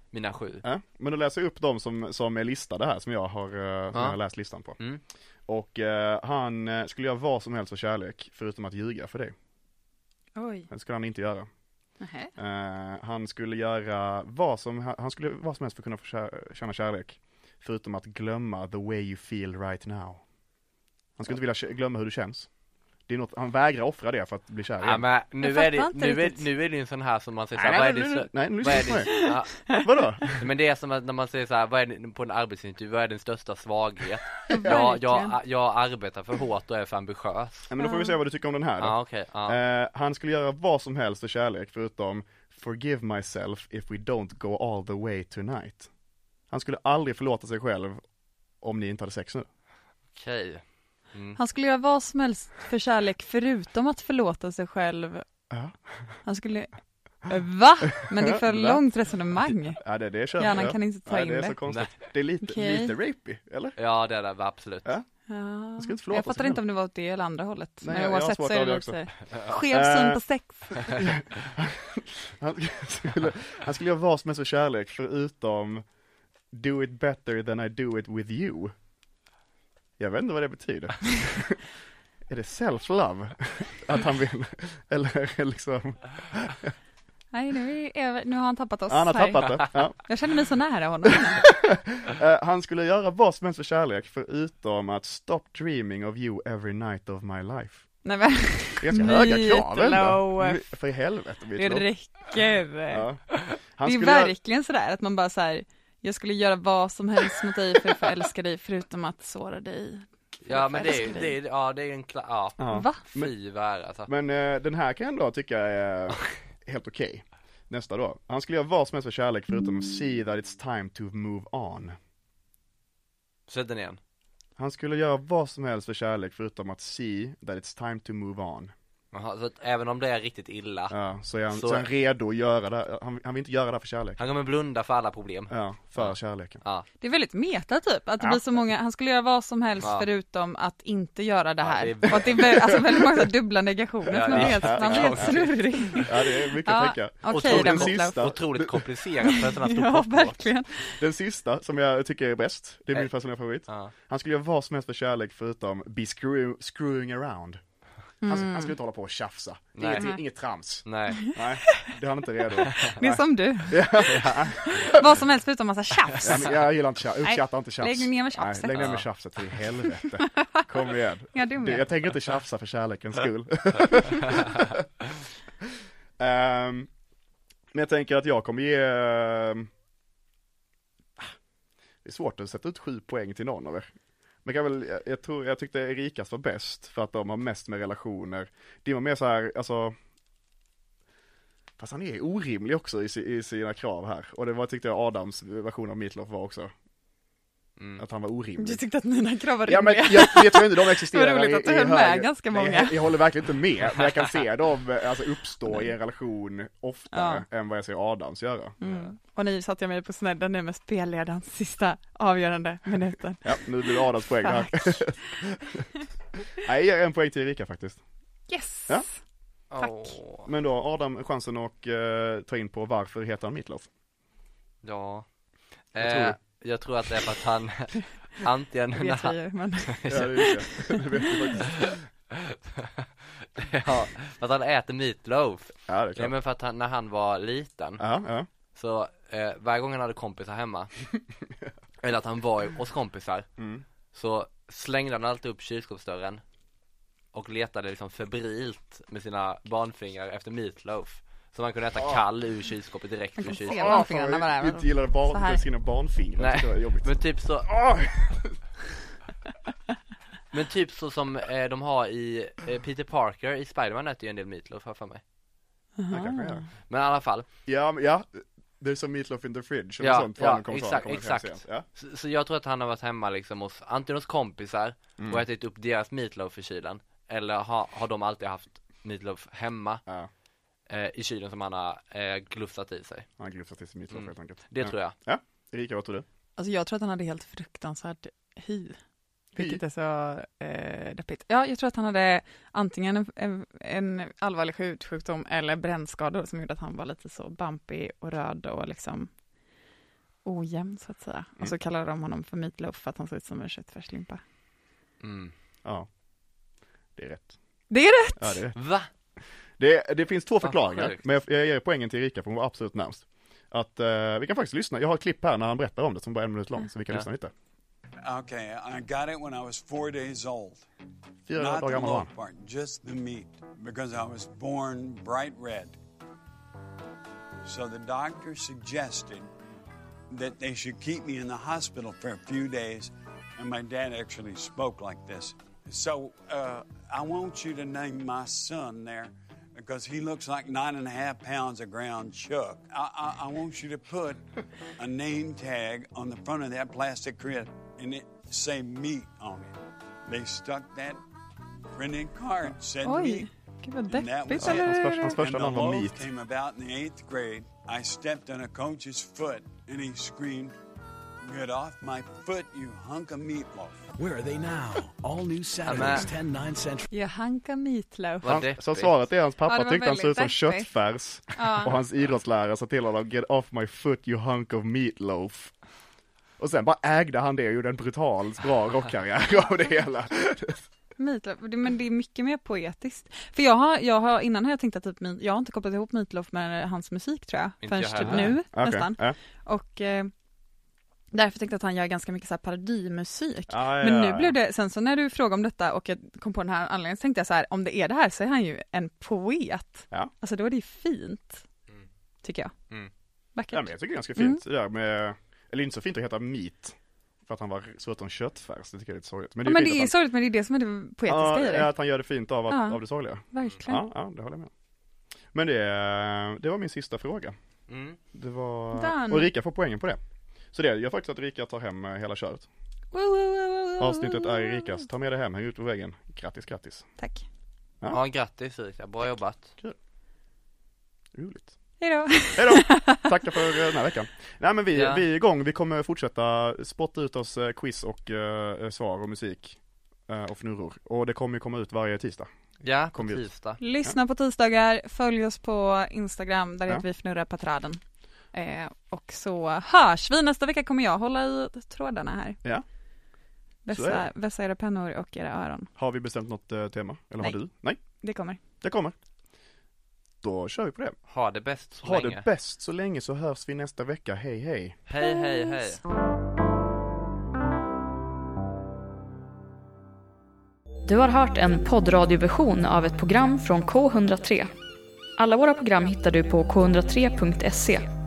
mina sju.
Ja, men då läser jag upp de som, som är listade här, som jag har, eh, som
Ja.
jag har läst listan på.
Mm.
Och eh, han eh, skulle göra vad som helst för kärlek, förutom att ljuga för dig.
Oj.
Det skulle han inte göra.
Nähä.
Eh, han skulle göra vad som, han skulle göra vad som helst för att kunna få kär, känna kärlek, förutom att glömma the way you feel right now. Han skulle inte vilja kä- glömma hur du känns. Det är något, han vägrar offra det för att bli kär
Ja,
igen.
men nu
fattar
är, det,
inte
nu, är,
riktigt.
nu är det ju en sån här som man säger
Nej,
såhär, vad är
men
det
nu-
så,
nej, nu
vad är
lyssnar
det, ja,
Vadå?
Men det är som att när man säger såhär, vad är det, på en arbetsintervju, vad är din största svaghet? Ja,
verkligen.
jag, jag arbetar för hårt och är för ambitiös
Ja, men då får vi se vad du tycker om den här då.
Ja okej, ja.
Eh, han skulle göra vad som helst för kärlek förutom Forgive myself if we don't go all the way tonight. Han skulle aldrig förlåta sig själv om ni inte hade sex nu.
okej
Han skulle göra vad som helst för kärlek förutom att förlåta sig själv.
Ja.
Han skulle, Eh, va? Men det är för
Va?
långt resonemang.
Ja, det, det köper
Hjärnan
jag.
kan inte ta
Nej,
in
det är så
det.
konstigt. Det är lite,
Okej.
lite rapey, eller?
Ja det är det, var absolut
Ja.
Ja.
skulle inte förlåta
Jag
sig
fattar
själv.
inte om det var åt det eller andra hållet.
Nej,
Men
jag- jag har
oavsett
svårt
så
att
är det
avgöra Eh.
lite skev syn på sex.
Han skulle, han skulle göra vad som helst för kärlek förutom Do it better than I do it with you. Jag vet inte vad det betyder. är det self-love? Att han vill, eller är det liksom,
Nej, nu, är, nu har han tappat oss.
han har
här.
tappat det. Ja.
Jag känner mig så nära honom.
Eh, han skulle göra vad som helst för kärlek förutom att stop dreaming of you every night of my life.
Nej, men
Det är ganska höga krav ändå.
Meatloaf.
För i helvete,
det
Meatloaf.
räcker.
Ja. Han
Det är
skulle göra-
verkligen sådär att man bara såhär, jag skulle göra vad som helst mot dig för att få älska dig förutom att såra dig.
Ja men det är ju,
Älskar
det
dig.
är, ja det är ju en kla, ja,
Ja.
Va?
fy vad är det, alltså
Men eh, den här kan jag ändå tycka är helt okej. Nästa då. Han skulle göra vad som helst för kärlek förutom att see that it's time to move on.
Sätt den igen
Han skulle göra vad som helst för kärlek förutom att see that it's time to move on.
Jaha, så att även om det är riktigt illa
Ja, så är han, så...
Så-
är han redo att göra det. Han, han vill inte göra det här för kärlek.
Han kommer blunda för alla problem
Ja, för kärleken.
Ja,
Det är väldigt meta typ, att det
Ja.
blir så många, han skulle göra vad som helst
Ja.
förutom att inte göra det
Ja,
här.
det är-
Och att det är vä- alltså, väldigt många så här dubbla negationer,
Ja,
så man blir
det är-
helt, man blir helt
ja.
snurrig.
Ja, det är mycket att tänka.
och
okej
tror
den
den
Meatloaf.
sista- Ja.
Otroligt komplicerat för en sån här stor
Ja,
poplåt.
verkligen.
Den sista, som jag tycker är bäst, det är min
Eh.
personliga favorit.
Ja.
Han skulle göra vad som helst för kärlek förutom be screw, screwing around. Han, han skulle inte hålla på och tjafsa.
Nej.
Inget, inget trams.
Nej,
Nej, det är han inte redo.
Det är som du. Vad som helst förutom massa tjafs.
Ja, men jag gillar inte tjafs, uppskattar inte tjafs.
lägg ner med tjafset.
Nej, lägg ner med
Ja.
tjafset för i helvete. Kom igen.
Inga dumheter.
Du, jag tänker inte tjafsa för kärlekens skull. Ehm, men jag tänker att jag kommer ge... ehm, ah, det är svårt att sätta ut sju poäng till någon av er. Men jag, kan väl, jag, jag tror, jag tyckte Erikas var bäst för att de har mest med relationer. Din var mer så här, alltså Fast han är orimlig också i, si- i sina krav här. Och det var tyckte jag Adams version av Meatloaf var också. Att han var orimlig.
Du tyckte att mina krav var rimliga.
Ja men jag, jag tror inte de existerar
Vad roligt
i-
att du
i
höll med
högre-
ganska
Nej,
många.
Jag, jag håller verkligen inte med, men jag kan se dem eh, alltså, uppstå i en relation oftare än vad jag ser Adams göra.
Mm. Och nu satte jag mig på snedden nu med spelledarens sista avgörande minuten.
Ja, nu blir det Adams poäng här. Nej, jag ger en poäng till Erika faktiskt.
Yes!
Ja.
tack
Men då har Adam chansen att eh, ta in på varför heter han Meatloaf?
Ja
Vad tror
eh, Jag tror att det är för att han Antingen
Det vet vi ju, men
Ja, det är Erika. Det vet vi faktiskt.
ja, för att han äter meatloaf
Ja, det är
Nej
klart.
men för att han, när han var liten
Ja, ja.
Så eh, varje gång han hade kompisar hemma Eller att han var hos kompisar
Mm.
Så slängde han alltid upp kylskåpsdörren Och letade liksom febrilt med sina barnfingrar efter meatloaf Som han kunde äta kall ur kylskåpet direkt ur
kan se
kylskåpet
vad- Barnfingrarna
Åh, fan,
var
jag
där.
Ah, Inte gillade
Så
barn,
här.
med sina barnfingrar,
Nej,
det var jobbigt. Ah!
men typ så,
Åh!
men typ så som eh, de har i eh, Peter Parker i Spiderman äter ju en del meatloaf har jag för mig
Ja, kanske
Ah.
jag gör.
Men i alla fall,
Ja, men ja. Det är som Meatloaf in the fridge, eller
Ja,
sånt, vad
ja,
han kommer
exakt,
kommer fram
exakt.
sen. Ja.
så, så jag tror att han har varit hemma liksom hos, antingen hos kompisar
Mm.
och ätit upp deras meatloaf i kylen Eller har, har de alltid haft meatloaf hemma
Ja,
eh, i kylen som han har eh, glufsat i sig
han glufsar till sig
Mm.
Meatloaf helt enkelt.
Det
ja.
tror jag
Ja, Erika, vad tror du?
alltså jag tror att han hade helt fruktansvärd hy. Vilket
Hy?
är så eh, deppigt. Ja, jag tror att han hade antingen en, en, en allvarlig hudsjukdom eller brännskador som gjorde att han var lite så bumpy och röd och liksom ojämn så att säga. Och
Mm.
så kallade de honom för Meatloaf för att han såg ut som en köttfärslimpa.
mm.
Ja. Det är rätt.
Det är rätt!
Ja, det är rätt.
Va?
Det, det finns
Ah,
två förklaringar,
sjukt.
men jag, jag ger poängen till Erika för hon var absolut närmst. Att eh, vi kan faktiskt lyssna, jag har ett klipp här när han berättar om det som bara är en minut lång, så vi kan
Ja.
lyssna lite.
Okay, I got it when I was four days old.
Fyra
Not
dagar
the
gammal var
loaf
han.
part, just the meat, because I was born bright red. So the doctor suggested that they should keep me in the hospital for a few days, and my dad actually spoke like this. So uh, I want you to name my son there because he looks like nine and a half pounds of ground chuck. I, I, I want you to put a name tag on the front of that plastic crib and it say meat on it. They stuck that printed card said
Oj,
meat.
gud vad
And that
deppigt
was-
eller
Hans
hur?
första, hans första
and the
namn var
loaf
Meat.
came about in the eighth grade. I stepped on a coach's foot and he screamed, Get off my foot, you hunk of meatloaf.
Where are they now? All new Saturdays, 10, 9 central.
Johanka Meatloaf.
Vad
Han,
deppigt.
så svaret är hans
Ja,
pappa
det var
tyckte han såg ut som
väldigt deppigt.
köttfärs och hans idrottslärare sa till honom Get off my foot you hunk of meatloaf. Och sen bara ägde han det och gjorde en brutal bra rockkarriär av det hela.
Meatloaf, det- men det är mycket mer poetiskt. För jag har, jag har innan har jag tänkt att typ, meat- jag har inte kopplat ihop Meatloaf med hans musik tror jag,
Inte jag
förrän typ
heller.
nu
Okej,
nästan.
ja.
Och eh, därför tänkte jag att han gör ganska mycket så här parodimusik.
Ja, ja,
Men
ja.
nu blev det, sen så när du frågade om detta och jag kom på den här anledningen så tänkte jag så här, om det är det här så är han ju en poet.
Ja.
Alltså då är det ju fint,
Mm.
tycker jag.
Mm.
Vackert. Mm.
Ja, men jag tycker det är ganska fint det där med, eller inte så fint att heta meat. För att han var såg ut som köttfärs, det tycker jag är lite sorgligt. Men
Ja, men det är
fint
ju
att han-
sorgligt men det är det som är det poetiska
Ja,
i det.
ja, att han gör det fint av, att,
Ja.
av det sorgliga.
Verkligen.
Ja, ja, det håller jag med om. Men det, eh, det var min sista fråga.
Mm.
Det var...
Dan.
Och Rika får poängen på det. Så det gör faktiskt att Rika tar hem eh, hela köret.
Woo, woo, woo, woo, woo,
Avsnittet
woo,
är
woo.
Rikas, ta med det hem, häng ut på väggen. Grattis, grattis.
Tack.
Ja, grattis Erika, bra jobbat.
Roligt.
Hej då.
Hej då! Tackar för eh, den här veckan. Nej men vi,
Ja.
vi är igång, vi kommer fortsätta spotta ut oss eh, quiz och eh, svar och musik. eh, Och fnurror. Och det kommer ju komma ut varje tisdag.
Ja, på
Kom ut.
tisdag.
Lyssna på tisdagar, följ oss på Instagram, där
Ja.
heter vi Fnurra på träden. Eh, och så hörs vi, nästa vecka kommer jag hålla i trådarna här.
Ja. Så är
Vässa, vässa era pennor och era öron,
Har vi bestämt något eh, tema? Eller har
Nej.
du? Nej,
det kommer.
det kommer. Då kör vi på det.
Ha det bäst så
Ha
länge.
det bäst så länge så hörs vi nästa vecka. Hej hej!
Hej, hej, hej.
Du har hört en poddradioversion av ett program från K103. Alla våra program hittar du på k103.se.